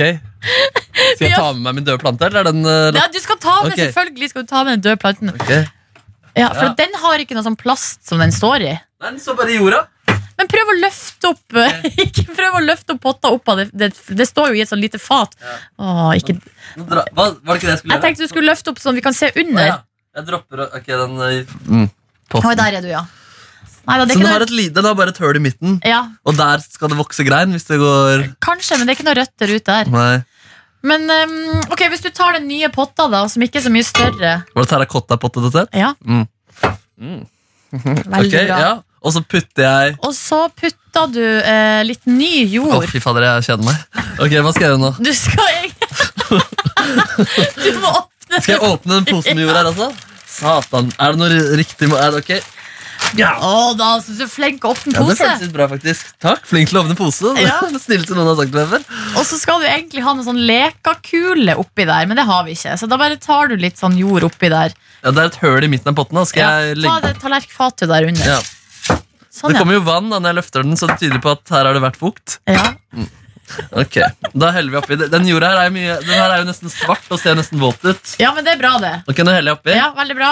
Speaker 5: Skal jeg ta med meg min døde plante, eller er den eh,
Speaker 4: Ja, du skal ta med,
Speaker 5: Ok.
Speaker 4: selvfølgelig skal du ta med den døde planten.
Speaker 5: lagt- Ok.
Speaker 4: Ja, for
Speaker 5: Ja.
Speaker 4: den har ikke noe sånn plast som den står i.
Speaker 5: Nei, den står bare i jorda.
Speaker 4: Men prøv å løfte opp [laughs] Ikke prøv å løfte opp potta opp av det. Det, det står jo i et sånn lite fat. Åh, ikke.
Speaker 5: Nå dra- Hva, var det ikke det jeg skulle
Speaker 4: Jeg
Speaker 5: gjøre?
Speaker 4: tenkte du skulle løfte opp sånn vi kan se
Speaker 5: Å,
Speaker 4: under.
Speaker 5: ja. Jeg dropper å Ok, den eh, mm,
Speaker 4: Oi,
Speaker 5: potten.
Speaker 4: der er du, ja. Nei, da, det
Speaker 5: Så den
Speaker 4: er ikke
Speaker 5: har,
Speaker 4: noe,
Speaker 5: et, li- den har bare et høl i midten,
Speaker 4: ja,
Speaker 5: og der skal det vokse grein hvis det går
Speaker 4: kanskje, men det er ikke noe røtter ut der.
Speaker 5: Nei.
Speaker 4: Men um, ok, hvis du tar den nye potta, da, som ikke er så mye større
Speaker 5: Var det terrakottapotte dette?
Speaker 4: Ja.
Speaker 5: Mm.
Speaker 4: [laughs] Veldig
Speaker 5: Ok,
Speaker 4: bra.
Speaker 5: ja. Og så putter jeg
Speaker 4: Og så putta du eh, litt ny
Speaker 5: Å,
Speaker 4: jord.
Speaker 5: fy fader, jeg kjenner meg. Ok, Hva skal jeg gjøre nå?
Speaker 4: [laughs] Du skal egentlig
Speaker 5: [laughs]
Speaker 4: Du må åpne
Speaker 5: Skal jeg åpne den posen med jord her også? Satan. Er det noe ri- riktig må- er det ok?
Speaker 4: Å, da syns du er flink å åpne
Speaker 5: Ja, det
Speaker 4: pose.
Speaker 5: føltes litt bra, faktisk. Takk. Flink til å åpne pose.
Speaker 4: Ja.
Speaker 5: [laughs] Det snilleste noen har sagt meg før.
Speaker 4: Og så skal du egentlig ha noen sånn lekakule oppi der, men det har vi ikke. Så da bare tar du litt sånn jord oppi der.
Speaker 5: Ja, det er et høl i midten av potten. Da. Skal
Speaker 4: Ja,
Speaker 5: jeg
Speaker 4: ta
Speaker 5: legge
Speaker 4: det tallerkfatet der under.
Speaker 5: ja.
Speaker 4: Sånn,
Speaker 5: Det
Speaker 4: ja.
Speaker 5: kommer jo vann da når jeg løfter den, så det tyder på at her har det vært fukt.
Speaker 4: ja.
Speaker 5: Ok, Da heller vi oppi det. Den jorda her er, jo mye, den her er jo nesten svart og ser nesten våt ut.
Speaker 4: Ja, men det er bra, det.
Speaker 5: Ok, nå heller jeg oppi.
Speaker 4: Ja, Veldig bra.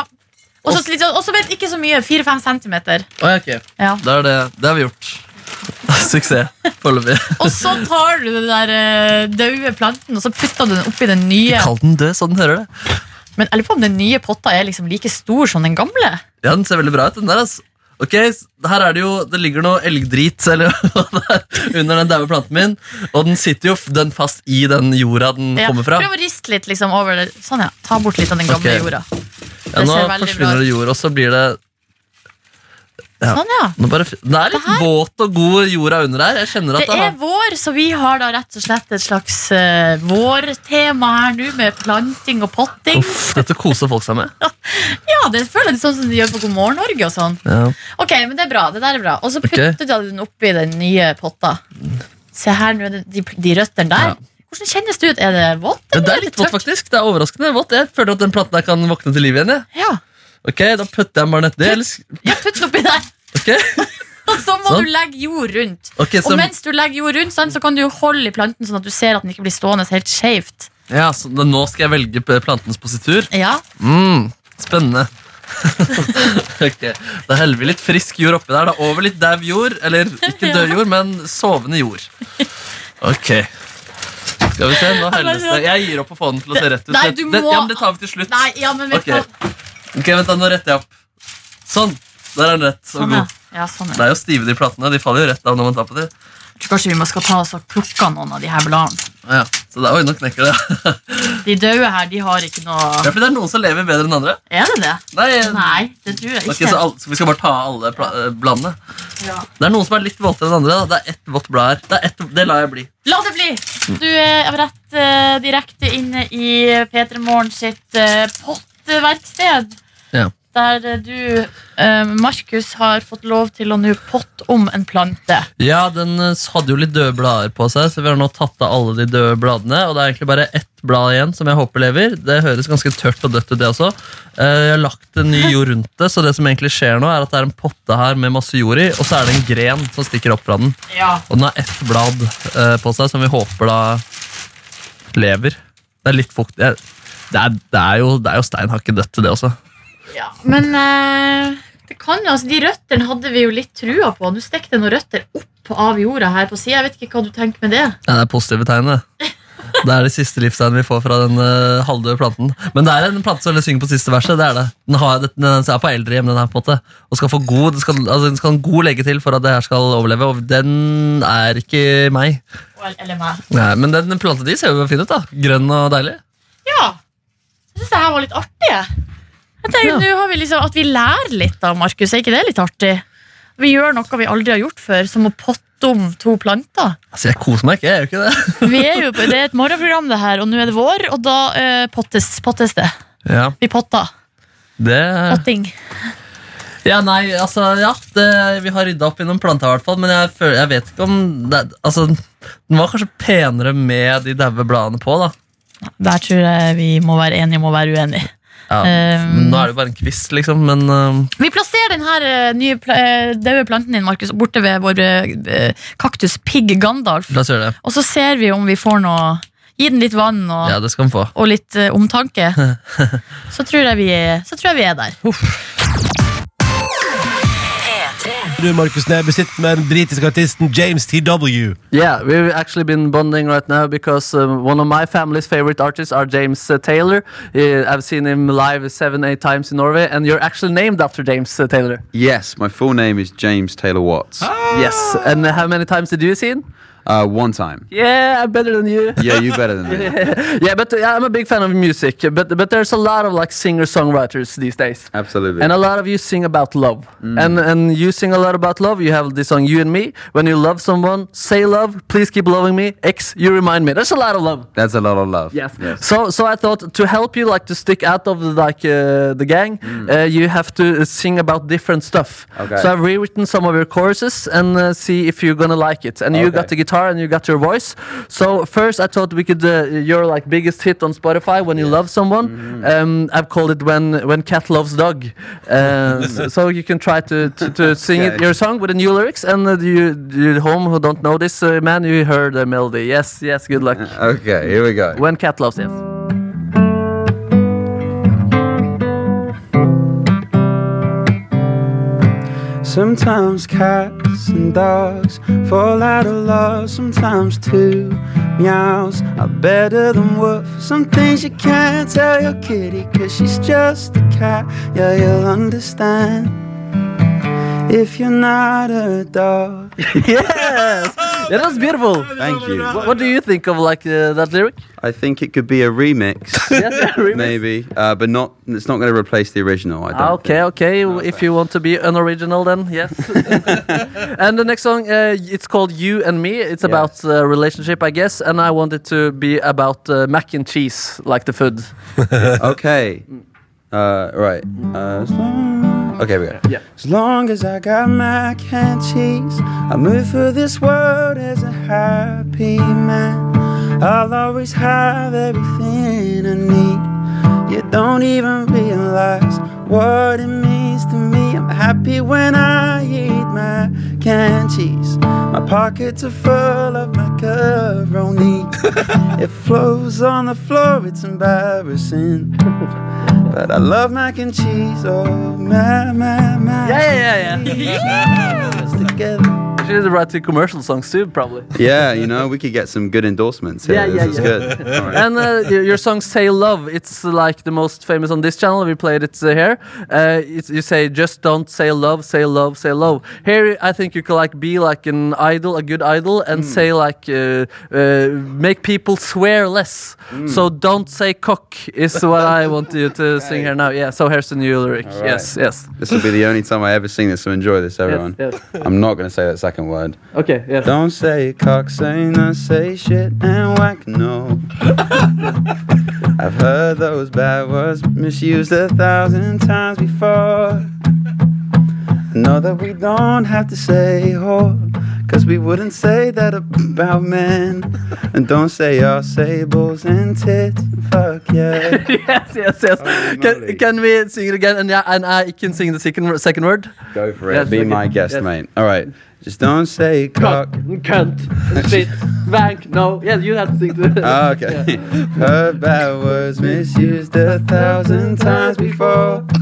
Speaker 4: Og så litt sånn- også vet ikke så mye. Fire-fem centimeter.
Speaker 5: Å, ja, ok.
Speaker 4: Ja.
Speaker 5: Da er det, det har vi gjort. [laughs] Suksess foreløpig.
Speaker 4: Og så tar du den der eh, døde planten og så putter du den oppi den nye.
Speaker 5: Kall den død, så den hører det.
Speaker 4: Men jeg lurer på om den nye potta er liksom like stor som den gamle.
Speaker 5: Ja, den ser veldig bra ut, den der, altså. Ok, s- her er det jo, det ligger noe elgdrit eller, [laughs] hva det er, under den daue planten min, og den sitter jo f- den fast i den jorda den
Speaker 4: Ja,
Speaker 5: kommer fra.
Speaker 4: Prøv å riste litt liksom over det. Sånn, ja. Ta bort litt av den gamle
Speaker 5: Ok.
Speaker 4: jorda.
Speaker 5: Ja,
Speaker 4: det
Speaker 5: nå
Speaker 4: ser veldig bra
Speaker 5: forsvinner det jord, og så blir det... Ja.
Speaker 4: Sånn, ja.
Speaker 5: Nå bare, f- det er litt våt og god jorda under her. Jeg kjenner at
Speaker 4: Det
Speaker 5: det,
Speaker 4: er vår, så vi har da rett og slett et slags eh, vårtema her nå, med planting og potting.
Speaker 5: har... Uff, dette koser folk seg med.
Speaker 4: Ja, det føler jeg det er sånn som de gjør på God morgen Norge og sånn.
Speaker 5: Ja.
Speaker 4: Ok, men det er bra. det der er bra Og så
Speaker 5: Ok.
Speaker 4: putter du den oppi den nye potta. Se her nå, er det de, de røttene der.
Speaker 5: Ja.
Speaker 4: Hvordan kjennes det ut? Er det vått?
Speaker 5: Men det
Speaker 4: eller
Speaker 5: er litt vått
Speaker 4: tørt?
Speaker 5: faktisk, det er overraskende vått. Jeg føler at den planten her kan våkne til liv igjen, jeg.
Speaker 4: Ja,
Speaker 5: Ok, da putter jeg den bare nett det. eller sk-
Speaker 4: ja putt den oppi der. [laughs]
Speaker 5: Ok,
Speaker 4: Og så må
Speaker 5: Sånn.
Speaker 4: du legge jord rundt.
Speaker 5: Ok, så,
Speaker 4: Og mens du legger jord rundt, sant, så kan du jo holde i planten sånn at du ser at den ikke blir stående helt skjevt.
Speaker 5: ja, så da- nå skal jeg velge p- plantens positur.
Speaker 4: Ja.
Speaker 5: Mm, spennende. [laughs] ok, Da heller vi litt frisk jord oppi der. Da Over litt dau jord. Eller ikke død jord, men sovende jord. Ok. Skal vi se, nå helles det. Jeg gir opp å få den til å se rett ut.
Speaker 4: Nei, du
Speaker 5: Det,
Speaker 4: må-
Speaker 5: ja, men det tar vi til slutt.
Speaker 4: Nei, ja, men vet
Speaker 5: Ok,
Speaker 4: du hva?
Speaker 5: Ok, vent da, nå retter jeg opp. Sånn. Der er den rett. og
Speaker 4: Sånn, ja.
Speaker 5: god.
Speaker 4: Ja, sånn, ja.
Speaker 5: Det er jo stive, de platene. De faller jo rett av når man tar på dem.
Speaker 4: Jeg tror kanskje vi må skal ta oss og plukke noen av de her bladene.
Speaker 5: Ja, så det, oi, nå knekker det. [laughs]
Speaker 4: De døde her, de har ikke
Speaker 5: Ja,
Speaker 4: noe
Speaker 5: for det er noen som lever bedre enn andre.
Speaker 4: Er det det?
Speaker 5: Nei,
Speaker 4: Nei, det tror jeg
Speaker 5: ok, så,
Speaker 4: ikke.
Speaker 5: alle- så vi skal bare ta av alle pla eh, bladene.
Speaker 4: Ja.
Speaker 5: Det er noen som er litt våtere enn andre. Da. Det er ett vått blad her. Det, er ett, det lar jeg bli.
Speaker 4: La det bli! Du er rett eh, direkte inne i P3 Morgen sitt eh, potteverksted.
Speaker 5: Ja.
Speaker 4: Der eh, du, eh, Markus, har fått lov til å nå potte om en plante.
Speaker 5: Ja, den eh, hadde jo litt døde blader på seg, så vi har nå tatt av alle de døde bladene. Og det er egentlig bare ett blad igjen som jeg håper lever. Det høres ganske tørt og dødt ut, det også. Eh, Jeg har lagt en ny jord rundt det, så det som egentlig skjer nå, er at det er en potte her med masse jord i, og så er det en gren som stikker opp fra den.
Speaker 4: Ja.
Speaker 5: Og den har ett blad eh, på seg som vi håper da lever. Det er litt fukt. jeg- Det er, det er jo, det er jo steinhakket dødt, det også.
Speaker 4: Ja, men eh, det kan jo, altså de røttene hadde vi jo litt trua på. Nå stekte det noen røtter opp av jorda her på sida. Jeg vet ikke hva du tenker med det.
Speaker 5: Ja, det er positive tegn, det. Det er det siste livstegnet vi får fra den eh, halvdøde planten. Men det er en plante som synger på siste verset. det er det. Den, har, den, den er på eldrehjem den her, på en måte. Og skal få god, den skal, altså, den skal ha en god legge til for at det her skal overleve. Og den er ikke meg.
Speaker 4: Eller- Eller meg.
Speaker 5: Nei, men den planten de ser jo fin ut, da. Grønn og deilig.
Speaker 4: Ja. Jeg syns det her var litt artig. jeg. Jeg tenker,
Speaker 5: Ja.
Speaker 4: nå har vi liksom, At vi lærer litt av Markus, er ikke det litt artig? Vi gjør noe vi aldri har gjort før, som å potte om to planter.
Speaker 5: Altså, Jeg koser meg ikke, jeg gjør ikke det.
Speaker 4: Vi er jo på, det er et morgenprogram, det her, og nå er det vår, og da eh, pottes, pottes det.
Speaker 5: Ja,
Speaker 4: Vi potter.
Speaker 5: det
Speaker 4: Potting.
Speaker 5: Ja, nei, altså, ja, det, vi har rydda opp i noen planter, i hvert fall. Men jeg, føler, jeg vet ikke om det, altså, Den var kanskje penere med de daue bladene på, da.
Speaker 4: Der tror jeg vi må være enige om å være uenige.
Speaker 5: Ja,
Speaker 4: Um,
Speaker 5: nå er det jo bare en kvist, liksom, men um,
Speaker 4: Vi plasserer den her eh, nye pla eh, døde planten din, Markus, borte ved vår eh, kaktus Pig Gandalf.
Speaker 5: la oss gjøre det.
Speaker 4: Og så ser vi om vi får noe Gi den litt vann og,
Speaker 5: Ja, det skal den få.
Speaker 4: og litt eh, omtanke. så, tror jeg vi, så tror jeg vi er der.
Speaker 2: Du, Markus Neby, sitter med den britiske artisten James TW.
Speaker 6: Yeah, we've actually been bonding right now because um, one of my family's favorite artists are James uh, Taylor. Uh, I've seen him live seven, eight times in Norway, and you're actually named after James uh, Taylor.
Speaker 7: Yes, my full name is James Taylor Watts.
Speaker 6: Yes. And uh, how many times did you see him?
Speaker 7: Uh, one time.
Speaker 6: Yeah, I'm better than you.
Speaker 7: Yeah, you better than me.
Speaker 6: [laughs] yeah, but uh, I'm a big fan of music, but but there's a lot of like singer-songwriters these days.
Speaker 7: Absolutely.
Speaker 6: And a lot of you sing about love. And and you sing a lot about love. You have this song You and Me. When you love someone, say love, please keep loving me. X, you remind me. There's a lot of love.
Speaker 7: That's a lot of love.
Speaker 6: Yes. So so I thought to help you like to stick out of the, like uh, the gang, uh, you have to uh, sing about different stuff.
Speaker 7: Mm. Okay.
Speaker 6: So I've rewritten some of your choruses and uh, see if you're gonna like it. And you got
Speaker 7: Okay.
Speaker 6: the guitar and you got your voice. So first I thought we could uh, your like biggest hit on Spotify when you love someone.
Speaker 7: Mm-hmm.
Speaker 6: Um, I've called it when when cat loves
Speaker 7: [laughs]
Speaker 6: dog. Uh, so you can try to to, to sing it,
Speaker 7: Okay.
Speaker 6: your song with the new lyrics. And uh, you you at home who don't know this uh, man, you heard the melody. Yes, yes. Good
Speaker 7: [laughs]
Speaker 6: luck.
Speaker 7: [laughs] Okay, here we go.
Speaker 6: When cat loves yes.
Speaker 8: Sometimes cats and dogs fall out of love. Sometimes two meows are better than woof. Some things you can't tell your kitty, cause she's just a cat. Yeah, you'll understand if you're not a dog.
Speaker 5: Yes, that was beautiful.
Speaker 7: Thank you.
Speaker 5: What, what do you think of like uh, that lyric?
Speaker 7: I think it could be a remix, maybe, uh, but not. It's not going to replace the original. I don't.
Speaker 5: Ah, Okay,
Speaker 7: think.
Speaker 5: okay. if you want to be unoriginal, then [laughs] yes. and the next song, uh, it's called "You and Me." It's about uh, relationship, I guess. And I wanted to be about uh, mac and cheese, like the food.
Speaker 7: Okay. Uh, right. Uh, okay, we go.
Speaker 8: As long as I got mac and cheese, I move through this world as a happy man. I'll always have everything I need. You don't even realize what it means to me. I'm happy when I eat mac and cheese. My pockets are full of
Speaker 5: [laughs]
Speaker 8: macaroni. it flows on the floor, it's embarrassing. But I love mac and cheese, oh mac, mac, mac.
Speaker 5: Yeah, yeah, yeah. yeah. [laughs]
Speaker 8: Us together.
Speaker 5: She did write two commercial songs too, probably.
Speaker 7: Yeah, you know, we could get some good endorsements. Here.
Speaker 5: Yeah,
Speaker 7: this
Speaker 5: yeah,
Speaker 7: is
Speaker 5: yeah. [laughs]
Speaker 7: good. All right.
Speaker 5: and uh, y- your song "Say Love," it's like the most famous on this channel. We played it uh, here. Uh, it's, you say, "Just don't say love, say love, say love." Here, I think you can like be like an idol, a good idol, and
Speaker 7: Hmm.
Speaker 5: say like uh, uh, make people swear less.
Speaker 7: Hmm.
Speaker 5: So don't say cock is what I want you to
Speaker 7: [laughs]
Speaker 5: sing here now. Yeah. So here's the new lyric.
Speaker 7: All right.
Speaker 5: Yes, yes,
Speaker 7: this will be the only time I ever sing this, so enjoy this, everyone.
Speaker 5: yes, yes.
Speaker 7: I'm not going to say that second word.
Speaker 5: Okay. Yes.
Speaker 7: Don't say cock, say no, say shit and whack no. I've heard those bad words misused a thousand times before.
Speaker 8: Know that we don't have to say whore, cause we wouldn't say that about men. And don't say all sables and tits, fuck yeah.
Speaker 5: [laughs] yes, yes, yes.
Speaker 7: Holy moly.
Speaker 5: Can, can we sing it again? And yeah, and I can sing the second second word.
Speaker 7: Go for it.
Speaker 5: Yes,
Speaker 7: Be
Speaker 5: okay.
Speaker 7: my guest,
Speaker 5: Yes.
Speaker 7: mate. All right. Just don't say cock.
Speaker 5: cunt,
Speaker 7: [laughs]
Speaker 5: spit, bank, no. Yeah, you have to think.
Speaker 7: Ah, okay. [laughs] Heard bad words misused a thousand times before. [laughs]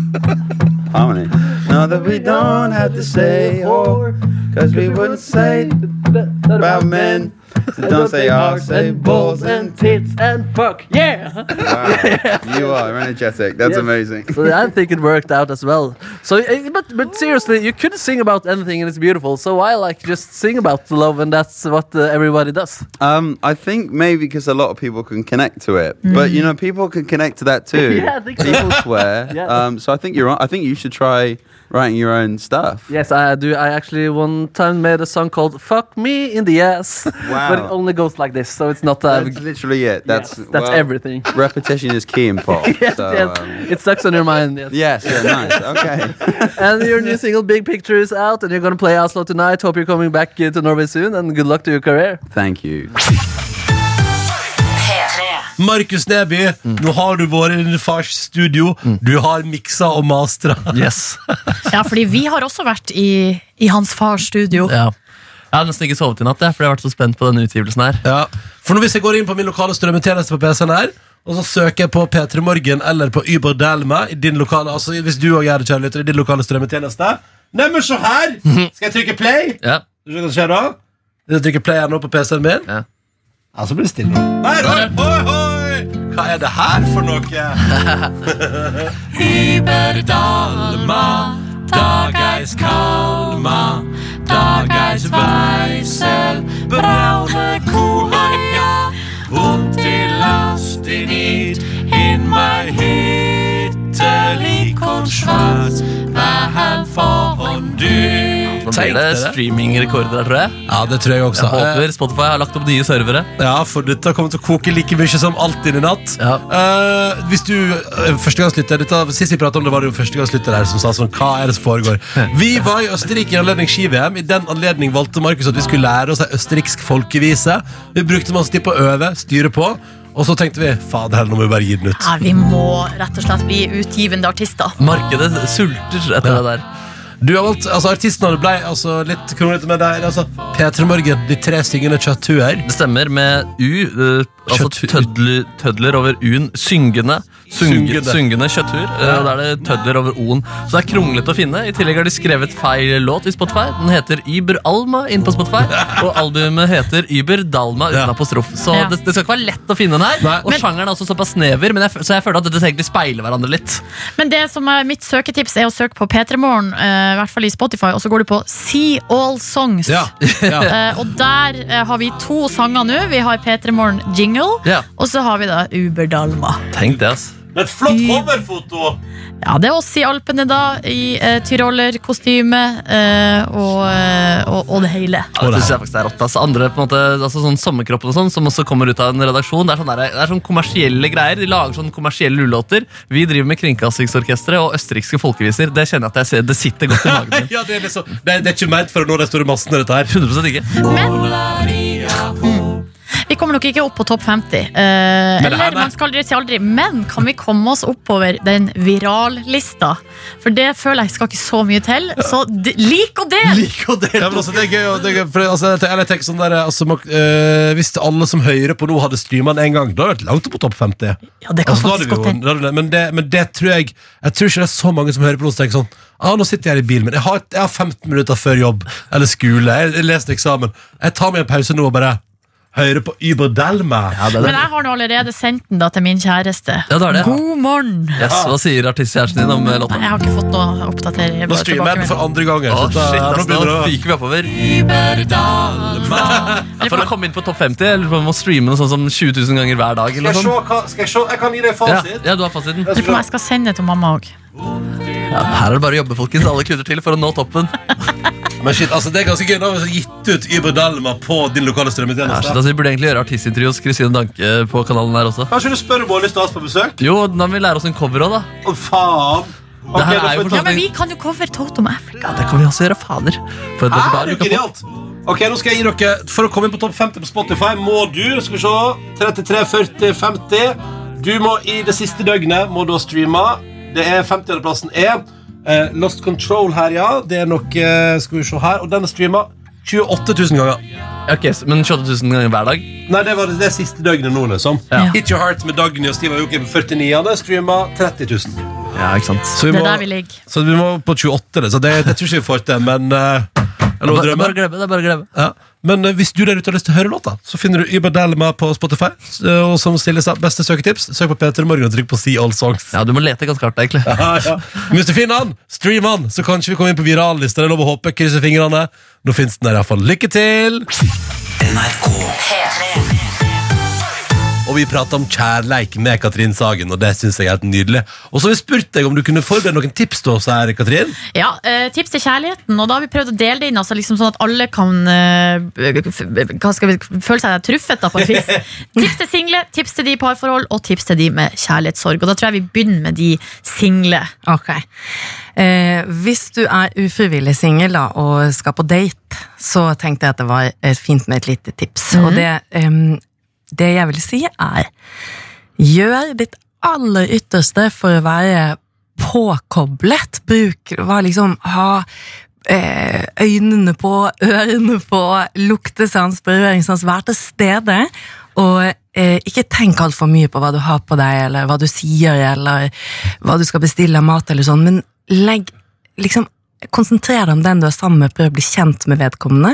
Speaker 7: Harmony. Know that we don't have to say whore, cause we wouldn't say about men. So don't say i say balls and t-
Speaker 5: tits and fuck. Yeah. [laughs]
Speaker 7: wow. You are energetic. That's
Speaker 5: Yes.
Speaker 7: amazing.
Speaker 5: so I think it worked out as well. So, eh, but but seriously, you could sing about anything and it's beautiful. So I like just sing about love, and that's what uh, everybody does.
Speaker 7: Um, I think maybe because a lot of people can connect to it, but you know, people can connect to that too.
Speaker 5: Mm-hmm. [laughs] Yeah, I think so.
Speaker 7: people swear.
Speaker 5: [laughs] Yeah.
Speaker 7: Um, so I think you're. on- I think you should try writing your own stuff.
Speaker 5: Yes, I do. I actually one time made a song called "Fuck Me in the Ass," but it
Speaker 7: Wow.
Speaker 5: only goes like this, so it's not. Uh,
Speaker 7: That's literally it. That's
Speaker 5: yes, that's
Speaker 7: well,
Speaker 5: everything.
Speaker 7: Repetition is key in pop.
Speaker 5: [laughs] yes,
Speaker 7: so,
Speaker 5: yes.
Speaker 7: um,
Speaker 5: it sucks on your mind. Yes.
Speaker 7: yes, yeah, nice. Okay.
Speaker 5: and your new single Big Picture is out, and you're gonna play Oslo tonight. Hope you're coming back uh, to Norway soon, and good luck to your career.
Speaker 7: Thank you.
Speaker 2: Markus Neby, nå har du vært i din fars studio. Du har miksa og mastra.
Speaker 7: [laughs]
Speaker 9: Yes.
Speaker 4: Ja, fordi vi har også vært i, i hans fars studio.
Speaker 9: Ja. Jeg har nesten ikke sovet i natt, jeg, fordi jeg har vært så spent på denne utgivelsen her.
Speaker 2: Ja. For nå hvis jeg går inn på min lokale strømmetjeneste på PC-en her, og så søker jeg på P3 Morgen eller på Uber Delma i din lokale, altså hvis du og gjør det, kjære lytter, i din lokale strømmetjeneste. Neimen, se her! Skal jeg trykke play?
Speaker 9: Ja.
Speaker 2: Skal du se hva som skjer da? Hvis jeg trykker play her nå på PC-en min,
Speaker 9: Ja.
Speaker 2: ja, så blir det stille. Nei, oi, oi, oi! Hva er det her for noe? [laughs] Uberdalma, dageis kalma, dageis veisel, braune kohaja, vondt i last i nid, in meg hyttelig konschwarz, vær her foran du.
Speaker 9: Nå blir det streamingrekorder her, tror jeg.
Speaker 2: Ja, det tror jeg også.
Speaker 9: Jeg håper Spotify har lagt opp nye servere.
Speaker 2: Ja, for dette kommer til å koke like mye som alltid i natt.
Speaker 9: Ja.
Speaker 2: Eh, hvis du eh, førstegangslytter dette, Sist vi pratet om det, var det jo førstegangslytter her som sa sånn Hva er det som
Speaker 9: [laughs]
Speaker 2: foregår? Vi var i Østerrike i anledning ski-VM. I den anledning valgte Markus at vi skulle lære oss ei østerriksk folkevise. Vi brukte masse tid på å øve, styre på, og så tenkte vi fader heller, nå må vi bare gi den ut.
Speaker 4: Ja, vi må rett og slett bli utgivende artister.
Speaker 9: Markedet sulter etter det der.
Speaker 2: Du har valgt, altså Artistnavnet ble altså, litt kronglete med deg. Altså, P3 Morgen, de tre syngende kjøtthuer.
Speaker 9: Det stemmer med U, eh, altså
Speaker 2: Kjøtt-
Speaker 9: tødler, tødler over U-en, syngende,
Speaker 5: Sungende,
Speaker 2: Sungende.
Speaker 5: sungende kjøtthur. eh, og Da er det tødler over O-en. Så det er kronglete å finne. I tillegg har de skrevet feil låt i Spotify. Den heter Yber Alma inne på [laughs] Spotify, og albumet heter Yber Dalma uten
Speaker 2: Ja.
Speaker 5: apostrof. Så
Speaker 4: Ja.
Speaker 5: det, det skal ikke være lett å finne den her. Og sjangeren er også såpass snever, men jeg, f- så jeg føler at dette egentlig speiler hverandre litt.
Speaker 4: Men det som er mitt søketips er å søke på P3morgen, eh, i hvert fall i Spotify, og så går du på See All Songs.
Speaker 2: Ja,
Speaker 9: [laughs]
Speaker 2: ja.
Speaker 4: Eh, og der eh, har vi to sanger nå. Vi har P3morgen Jingle,
Speaker 5: Ja,
Speaker 4: og så har vi da Uber Dalma.
Speaker 5: tenk det, ass.
Speaker 2: Et flott coverfoto!
Speaker 4: Ja, det er oss i Alpene, da, i eh, tyrolerkostyme eh, og, eh, og, og det hele.
Speaker 5: Ja, det synes jeg faktisk er rått. ass. Andre på en måte, altså sånn Sommerkroppen og sånn, som også kommer ut av en redaksjon. Det er, sånn der, det er sånn kommersielle greier. De lager sånn kommersielle ulåter. Vi driver med Kringkastingsorkestret og østerrikske folkeviser. Det kjenner jeg at jeg ser, det sitter godt i
Speaker 2: [laughs]
Speaker 5: magen min.
Speaker 2: Ja, det, er liksom, det, er- det er ikke ment for å nå de store massene, dette her.
Speaker 5: 100 ikke.
Speaker 4: Vi kommer nok ikke opp på topp 50. eh,
Speaker 2: Men det her,
Speaker 4: eller
Speaker 2: nei.
Speaker 4: man skal aldri si aldri. Men kan vi komme oss oppover den virallista? For det føler jeg skal ikke så mye til. Så d lik og del!
Speaker 2: Ja, men altså, det er gøy, og det er gøy for, altså, jeg tenker- jeg tenker sånn der, altså, man, eh, Hvis alle som hører på nå hadde streama den en gang, da hadde det vært langt opp på topp 50.
Speaker 4: Ja, det kan
Speaker 2: Altså, da hadde vi
Speaker 4: faktisk godt
Speaker 2: jo-
Speaker 4: hende.
Speaker 2: da hadde det- men, det, men det tror jeg Jeg tror ikke det er så mange som hører på noe som tenker sånn ah, Nå sitter jeg i bilen min, jeg har, jeg har 15 minutter før jobb eller skole, jeg, jeg leser eksamen. Jeg tar meg en pause nå og bare hører på Uber Delma.
Speaker 4: Men jeg har nå allerede sendt den da til min kjæreste.
Speaker 5: Ja, det er det.
Speaker 4: God morgen!
Speaker 5: Yes, hva sier artistkjæresten din om eh,
Speaker 4: Nei,
Speaker 5: låta?
Speaker 4: jeg har ikke fått noe oppdatering.
Speaker 2: Nå streamer jeg den for andre ganger.
Speaker 5: Å,
Speaker 2: så
Speaker 5: shit,
Speaker 2: da- nå
Speaker 5: ass, nå
Speaker 2: begynner det å-
Speaker 5: fyker vi oppover. Ja, For å komme inn på topp 50 eller for å må streame noe sånn som 20 000 ganger hver dag. Eller noe sånt.
Speaker 2: skal jeg se? Jeg kan gi deg
Speaker 5: Ja, ja, du har fasiten.
Speaker 4: Lurer på om jeg skal sende det til mamma òg.
Speaker 5: Ja, her er det bare å jobbe, folkens. Alle kluter til for å nå toppen.
Speaker 2: Men shit, altså, det er ganske gøy. Nå har vi gitt ut Uber Delma på din lokale
Speaker 5: Ja, shit,
Speaker 2: strømmetjeneste.
Speaker 5: altså, vi burde egentlig gjøre artistintervju hos Kristine Danke på kanalen her også.
Speaker 2: Kanskje du spør om hun har lyst til å ha oss på besøk?
Speaker 5: Jo, da må vi lære oss en cover òg, da.
Speaker 2: Å, faen!
Speaker 5: Det
Speaker 2: Sånn
Speaker 5: her er jo
Speaker 4: Ja,
Speaker 5: fortsatt
Speaker 4: men vi kan jo cover Toto med Africa.
Speaker 5: Ja, det kan vi også gjøre, fader. For et repertoar
Speaker 2: Er
Speaker 5: vi
Speaker 2: jo
Speaker 5: kan få.
Speaker 2: genialt. Ok, nå skal jeg gi dere For å komme inn på topp 50 på Spotify må du skal vi se, 33, 40, 50. Du må i det siste døgnet må du ha streama. Det er 50.-plassen er eh, Lost Control her, ja. Det er nok eh, Skal vi se her. Og den er streama 28 000 ganger.
Speaker 5: Ja, ok, så- men 28 000 ganger hver dag?
Speaker 2: Nei, det var det, det siste døgnet nå, liksom.
Speaker 5: Ja.
Speaker 2: Hit Your Heart med Dagny og Steve Aoki på 49. Streama 30 000.
Speaker 5: Ja, ikke sant
Speaker 2: Så
Speaker 4: Det er der vi ligger.
Speaker 2: så vi må på 28, det. Så det, det tror ikke vi får til, men eh, jeg lover å
Speaker 5: Bare,
Speaker 2: drømme.
Speaker 5: bare glemme, det er bare å glemme.
Speaker 2: Ja. Men eh, hvis du der ute har lyst til å høre låta, så finner du Yber Delma på Spotify. eh, Og som Silje sa, beste søketips, søk på Peter Morgen og trykk på See All
Speaker 5: [laughs]
Speaker 2: Songs.
Speaker 5: Ja, du må lete ganske hardt, egentlig.
Speaker 2: Ja, ja. Men Hvis du finner den, stream den, så kan ikke vi komme inn på virallista. Det er lov å håpe. Krysse fingrene. Nå fins den der iallfall. Lykke til! Og vi prater om kjærleik med Katrin Sagen, og det syns jeg er helt nydelig. Og så har vi spurt deg om du kunne forberede noen tips til oss her, Katrin.
Speaker 4: Ja, eh, Tips til kjærligheten. Og da har vi prøvd å dele det inn, altså liksom sånn at alle kan eh, f- hva skal vi, føle seg truffet. da på et vis
Speaker 10: [laughs]
Speaker 4: Tips til single, tips til de i parforhold, og tips til de med kjærlighetssorg. Og Da tror jeg vi begynner med de single.
Speaker 10: Ok. Eh, hvis du er ufrivillig singel da, og skal på date, så tenkte jeg at det var eh, fint med et lite tips.
Speaker 5: Mhm.
Speaker 10: Og det, ehm, det jeg vil si er, gjør ditt aller ytterste for å være påkoblet. Bruk, var liksom, ha eh, øynene på, ørene på, luktesans, berøringssans, vær til stede. Og eh, ikke tenk altfor mye på hva du har på deg, eller hva du sier, eller hva du skal bestille av mat, eller sånn, men legg liksom Konsentrer deg om den du er sammen med, prøv å bli kjent med vedkommende,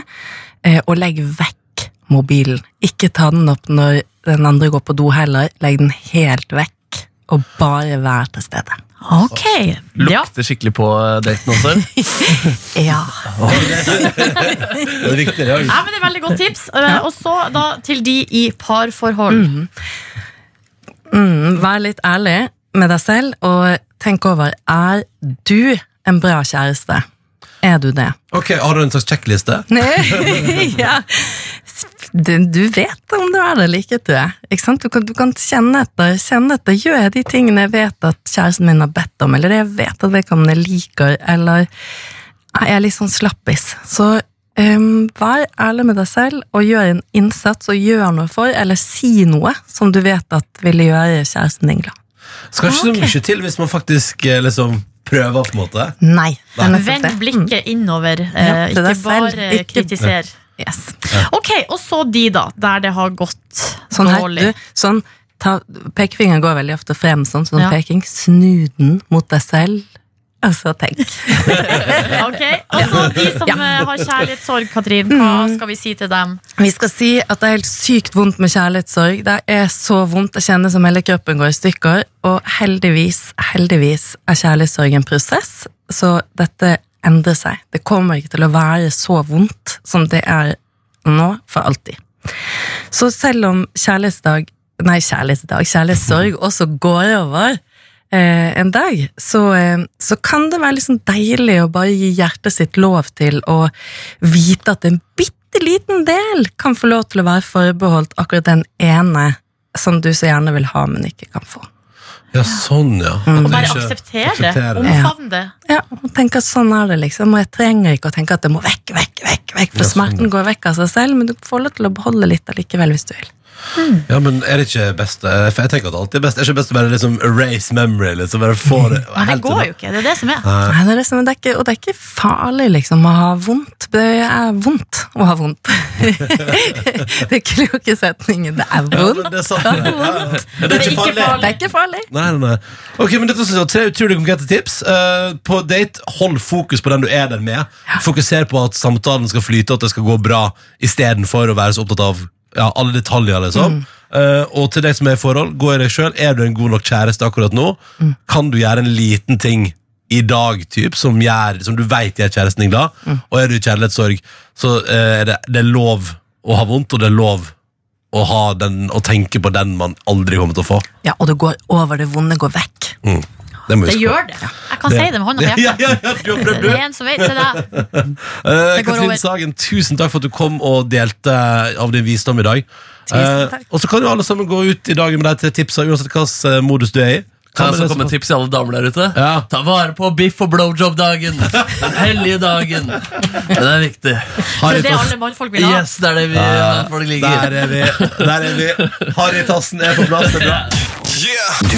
Speaker 10: eh, og legg vekk mobilen. Ikke ta den opp når den andre går på do heller, legg den helt vekk, og bare vær til stede.
Speaker 4: Ok, ja.
Speaker 5: Lukter skikkelig på eh,
Speaker 2: [laughs]
Speaker 5: daten også.
Speaker 10: Ja.
Speaker 2: Det er viktig, det er
Speaker 4: Ja, men det er veldig godt tips. Eh, Og så da til de i parforhold.
Speaker 10: Mm, vær litt ærlig med deg selv, og tenk over, er du en bra kjæreste? Er du det? [laughs]
Speaker 2: Ok, Har du en slags sjekkliste?
Speaker 10: Nei, ja. du, du vet om du er det eller ikke, tror jeg. Ikke sant? Du, kan, du kan kjenne etter, kjenne etter. Gjør jeg de tingene jeg vet at kjæresten min har bedt om, eller det jeg vet at vedkommende liker, eller er jeg litt sånn slappis? Så ehm, vær ærlig med deg selv, og gjør en innsats, og gjør noe for, eller si noe som du vet at ville gjøre kjæresten din glad.
Speaker 2: Skal ikke så
Speaker 4: Ah, Ok.
Speaker 2: mye til hvis man faktisk eh, liksom prøver, på en måte.
Speaker 10: Nei. det er nettopp
Speaker 4: Vend
Speaker 10: det. Mm.
Speaker 4: blikket innover, eh,
Speaker 10: Ja, til
Speaker 4: ikke
Speaker 10: deg selv.
Speaker 4: bare
Speaker 10: Ikke-
Speaker 4: kritiser.
Speaker 10: Mm, Yes.
Speaker 4: Ok, og så de, da, der det har gått
Speaker 10: Sånn her,
Speaker 4: dårlig.
Speaker 10: du, sånn ta, Pekefingeren går veldig ofte frem, sånn, sånn
Speaker 4: Ja.
Speaker 10: peking. Snu den mot deg selv, og så tenk.
Speaker 4: Ok, altså De som eh, har kjærlighetssorg, Katrin, hva skal vi si til dem?
Speaker 10: Vi skal si at det er helt sykt vondt med kjærlighetssorg. Det er så vondt. Jeg kjenner som hele kroppen går i stykker. Og heldigvis, heldigvis er kjærlighetssorg en prosess, så dette endrer seg. Det kommer ikke til å være så vondt som det er nå, for alltid. Så selv om kjærlighetsdag, nei, kjærlighetsdag, kjærlighetssorg også går over eh, en dag, så, eh, så kan det være liksom deilig å bare gi hjertet sitt lov til å vite at en bitte liten del kan få lov til å være forbeholdt akkurat den ene som du så gjerne vil ha, men ikke kan få.
Speaker 2: Ja, sånn, ja.
Speaker 4: Mm. Og bare akseptere det. Mm.
Speaker 2: akseptere det.
Speaker 4: Omfavne det.
Speaker 10: Ja, og tenke at sånn er det liksom, og jeg trenger ikke å tenke at det må vekk, vekk, vekk, vekk, for
Speaker 2: Ja, sånn, ja.
Speaker 10: smerten går vekk av seg selv, men du får lov til å beholde litt allikevel hvis du vil.
Speaker 2: Ja, men er det ikke best eh, For jeg tenker at det alltid er best. Er det ikke best å bare liksom erase memory? Liksom, bare få det
Speaker 4: Men Mm. det går jo ikke. Det er det som er.
Speaker 10: Nei, det er liksom, det er ikke, og det er ikke farlig liksom, å ha vondt. Det er vondt å ha vondt. [laughs] det er kloke setningen. Det er
Speaker 2: Ja, men
Speaker 10: vondt.
Speaker 2: det er sant. Ja, ja. Ja, Det er ikke farlig.
Speaker 10: Det er ikke farlig.
Speaker 2: Nei, nei, nei. Ok, men dette synes jeg var tre utrolig konkrete tips. Eh, på date, hold fokus på den du er der med. Fokuser på at samtalen skal flyte, og at det skal gå bra, istedenfor å være så opptatt av ja, alle detaljer. liksom.
Speaker 4: Mm.
Speaker 2: Eh, og til deg som er i forhold, gå i deg sjøl. Er du en god nok kjæreste akkurat nå?
Speaker 4: Mm.
Speaker 2: Kan du gjøre en liten ting i dag typ, som, gjør, som du veit gjør kjæresten din glad?
Speaker 4: Mm.
Speaker 2: Og er du i kjærlighetssorg, så eh, er det, det er lov å ha vondt, og det er lov å, ha den, å tenke på den man aldri kommer til å få.
Speaker 10: Ja, og det går over, det vonde går vekk.
Speaker 2: Mm. Det må vi
Speaker 4: Det
Speaker 2: huske på.
Speaker 4: gjør det. Jeg kan si det med hånda på
Speaker 2: Ja,
Speaker 4: hjertet.
Speaker 2: ja, ja, du har prøvd, du.
Speaker 4: Det er en som vet til deg.
Speaker 2: Eh,
Speaker 4: Det går
Speaker 2: Katrin
Speaker 4: over.
Speaker 2: Sagen, tusen takk for at du kom og delte av din visdom i dag.
Speaker 10: Tusen takk.
Speaker 2: Eh, og så kan jo alle sammen gå ut i dag med de tre tipsa, uansett hvilken modus du er i.
Speaker 5: Kan jeg
Speaker 2: med
Speaker 5: også
Speaker 2: det
Speaker 5: komme
Speaker 2: som-
Speaker 5: med tips til alle damer der ute?
Speaker 2: Ja.
Speaker 5: Ta vare på biff- og blowjob-dagen! Den hellige dagen! Den er viktig.
Speaker 4: Det
Speaker 2: Harry
Speaker 4: er det
Speaker 2: Tassen-
Speaker 4: alle mannfolk vil ha.
Speaker 5: Yes, det er det vi ja, folk liker.
Speaker 2: Der er vi. Der er vi. Harrytassen er på plass. Det er bra.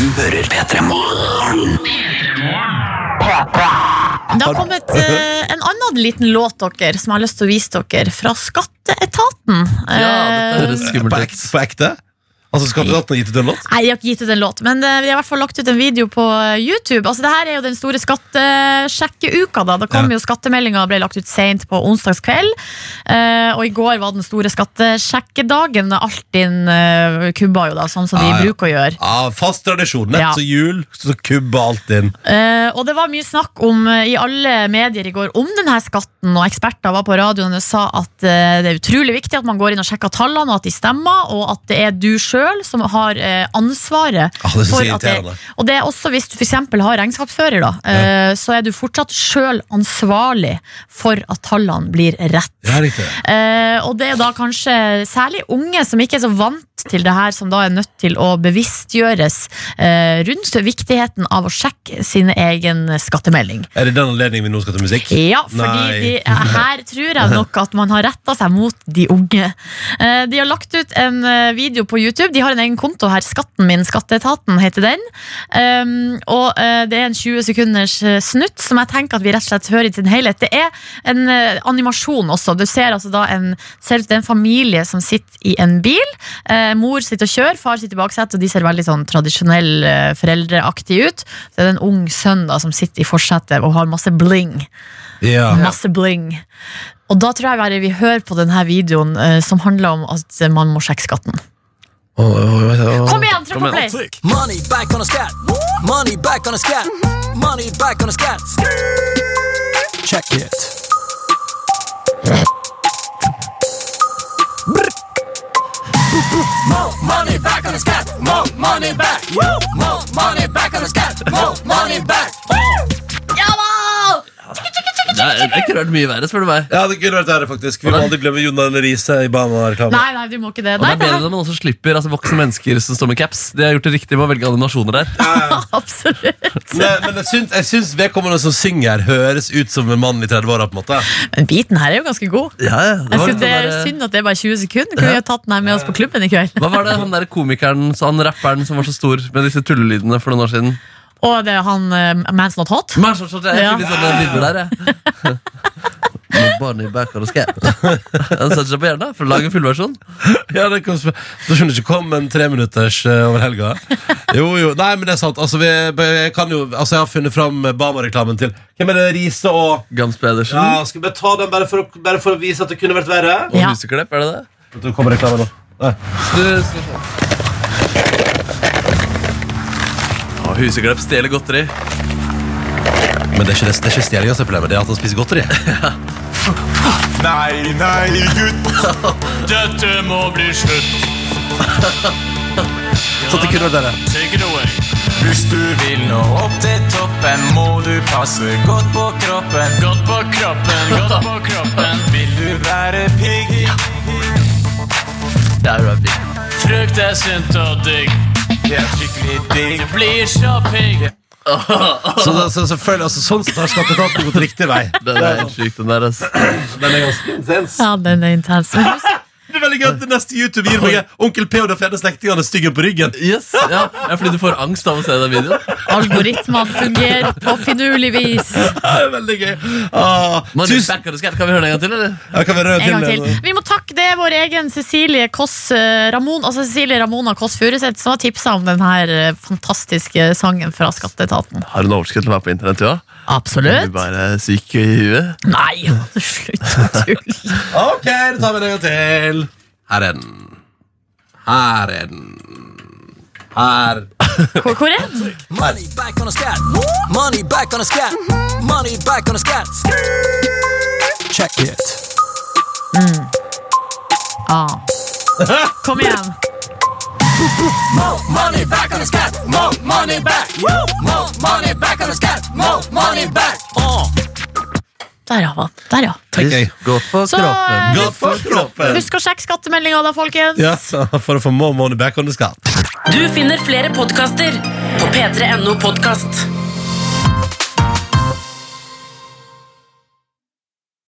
Speaker 4: Det har kommet eh, en annen liten låt dere som jeg har lyst til å vise dere, fra Skatteetaten.
Speaker 5: Ja, dette
Speaker 4: Eh,
Speaker 5: høres
Speaker 2: På
Speaker 5: skummelt ut.
Speaker 2: ekte. På ekte. Altså, skal du ha gitt ut en låt?
Speaker 4: Nei, de har ikke gitt ut en låt, men eh, vi har i hvert fall lagt ut en video på eh, YouTube. Altså, det her er jo den store skattesjekkeuka. Da Da kom
Speaker 2: Ja.
Speaker 4: jo skattemeldinga ble lagt ut seint på onsdagskveld. Eh, og i går var den store skattesjekkedagen. Altinn uh, kubba jo da, sånn som de
Speaker 2: Ja, ja.
Speaker 4: bruker å gjøre.
Speaker 2: Ja, Ah, fast tradisjon. Nett
Speaker 4: Ja.
Speaker 2: så jul, så kubba alt inn.
Speaker 4: Eh, og det var mye snakk om eh, i alle medier i går om denne skatten, og eksperter var på radioen og sa at eh, det er utrolig viktig at man går inn og sjekker tallene, og at de stemmer, og at det er du sjøl som har eh, ansvaret.
Speaker 2: Ah, det synes
Speaker 4: for
Speaker 2: jeg er
Speaker 4: at det-
Speaker 2: irriterende.
Speaker 4: og det er også hvis du f.eks. har regnskapsfører, da, eh, så er du fortsatt sjøl ansvarlig for at tallene blir rett.
Speaker 2: Ja, riktig.
Speaker 4: Eh, og det er da kanskje særlig unge som ikke er så vant til det her, som da er nødt til å bevisstgjøres eh, rundt viktigheten av å sjekke sin egen skattemelding.
Speaker 2: Er det den anledningen vi nå skal til musikk?
Speaker 4: Ja, fordi
Speaker 2: Nei.
Speaker 4: de, eh, her tror jeg nok at man har retta seg mot de unge. Eh, De har lagt ut en eh, video på YouTube. De har en egen konto her. Skatten min, Skatteetaten, heter den. Um, og eh, det er en 20 sekunders eh, snutt som jeg tenker at vi rett og slett hører i sin helhet. Det er en eh, animasjon også. Du ser altså da en, ser ut til en familie som sitter i en bil. Eh, Mor sitter og kjører, far sitter i baksetet, og de ser veldig sånn tradisjonell eh, foreldreaktig ut. Så er det en ung sønn da som sitter i forsetet og har masse bling.
Speaker 2: Ja.
Speaker 4: Masse bling. Og da tror jeg bare vi hører på denne videoen eh, som handler om at man må sjekke skatten.
Speaker 2: Åh, åh, åh, åh.
Speaker 4: Kom igjen, trykk på play!
Speaker 11: Money back on a scat. Money back on a scat. Money back on a scat. Check it. More money back on a scat. More money back. More money back on a scat. More money back.
Speaker 4: Ja da!
Speaker 5: Det er, det er ikke rørt mye verre, spør du meg.
Speaker 2: Ja, det kunne vært verre, faktisk. Vi må aldri glemme Jonan Riise i Bana-reklamen.
Speaker 4: Nei, nei, du må ikke det.
Speaker 5: Og det
Speaker 4: Nei,
Speaker 5: er
Speaker 4: det
Speaker 5: bedre når man også slipper altså, voksne mennesker som står med caps. De har gjort det riktig med å velge animasjoner der.
Speaker 4: er [laughs] absolutt.
Speaker 2: Nei, men jeg syns, jeg syns vedkommende som synger, høres ut som en mann i 30-åra. på en måte
Speaker 4: Men biten her er jo ganske god.
Speaker 5: Ja, ja, det
Speaker 4: Jeg
Speaker 5: var
Speaker 4: synes
Speaker 5: litt
Speaker 4: det er
Speaker 5: sånn der-
Speaker 4: Synd at det er bare 20 sekunder. Kunne vi ha tatt den her med oss på klubben i kveld?
Speaker 5: Hva var det han der komikeren, så han rapperen som var så stor med disse tullelydene for noen år siden?
Speaker 4: Og det er han eh, Man's Not Hot.
Speaker 5: Men, så, så, jeg fikk litt sånne bilder der, jeg. [laughs] Med barnet i back of the [laughs] scat. Den setter seg på hjernen. For å lage en fullversjon.
Speaker 2: [laughs] Ja, det kan sp- Da skjønner du ikke hva om en treminutters eh, over helga. Jo, jo, nei, men det er sant. Altså, vi, jeg, kan jo, altså, jeg har funnet fram Bama-reklamen til Hvem er det? Riise og Mm?
Speaker 5: Gams Pedersen
Speaker 2: Ja, skal vi bare ta den bare for, å, bare for å vise at det kunne vært verre?
Speaker 5: og
Speaker 4: Ja.
Speaker 5: Museklepp, er det det?
Speaker 2: Det kommer reklame nå. Nei.
Speaker 5: Du, skal vi se. Å, Huseklepp stjeler godteri.
Speaker 2: Men det er ikke, det- det er ikke stjelinga som er problemet, [laughs] det er at han spiser godteri.
Speaker 9: Nei, nei, gutt. Dette må bli slutt.
Speaker 2: Så det kunne vært verre.
Speaker 9: Take it away. Hvis du vil nå opp til toppen, må du passe godt på kroppen. Godt på kroppen, godt på kroppen. Vil du være pigg?
Speaker 5: Det er jo en pigg.
Speaker 9: Frukt er sunt og digg. Det er skikkelig digg. Du blir så pigg.
Speaker 2: Så, det- så selvfølgelig, altså, sånn sett har skatteetaten gått riktig vei.
Speaker 5: Den er helt syk, den der. ass.
Speaker 2: Den er ganske intens.
Speaker 4: Ja, den er intens. Men husk-
Speaker 2: Det er veldig gøy at det neste YouTube gir meg Onkel P og de fjerne slektningene styggen på ryggen.
Speaker 5: Yes, ja. ja, Fordi du får angst av å se den videoen.
Speaker 4: Algoritmene fungerer på finurlig vis.
Speaker 2: Det er veldig gøy. Ah,
Speaker 5: Money
Speaker 2: tusen
Speaker 5: back of the scat. Kan vi høre den en gang til, eller?
Speaker 2: Jeg kan være
Speaker 4: En gang til. Vi må takke det vår egen Cecilie Koss eh, Ramon, altså Cecilie Ramona Koss Furuseth som har tipsa om denne fantastiske sangen fra Skatteetaten.
Speaker 5: Har hun overskudd til å være på internett, jo? Er du
Speaker 4: Absolutt.
Speaker 5: bare syk i huet?
Speaker 4: Nei, [laughs] slutt å tulle.
Speaker 2: Ok, da tar vi den en gang til. Her er den. Her er den. Her.
Speaker 4: Hvor, hvor er den?
Speaker 11: Money back on the scat. Money back on the scat. Money back on the scat. Check it.
Speaker 4: Mm. Ah. Kom igjen.
Speaker 11: More money back on the scat. More money back. More money back on the scat. More money back. Uh.
Speaker 4: Der, ja. hva? Der, ja.
Speaker 5: Godt for
Speaker 4: Så eh,
Speaker 2: Godt for kroppen.
Speaker 4: husk å sjekke skattemeldinga da, folkens.
Speaker 2: Ja, for å få more money back on the skat.
Speaker 1: Du finner flere podkaster på p3.no podkast.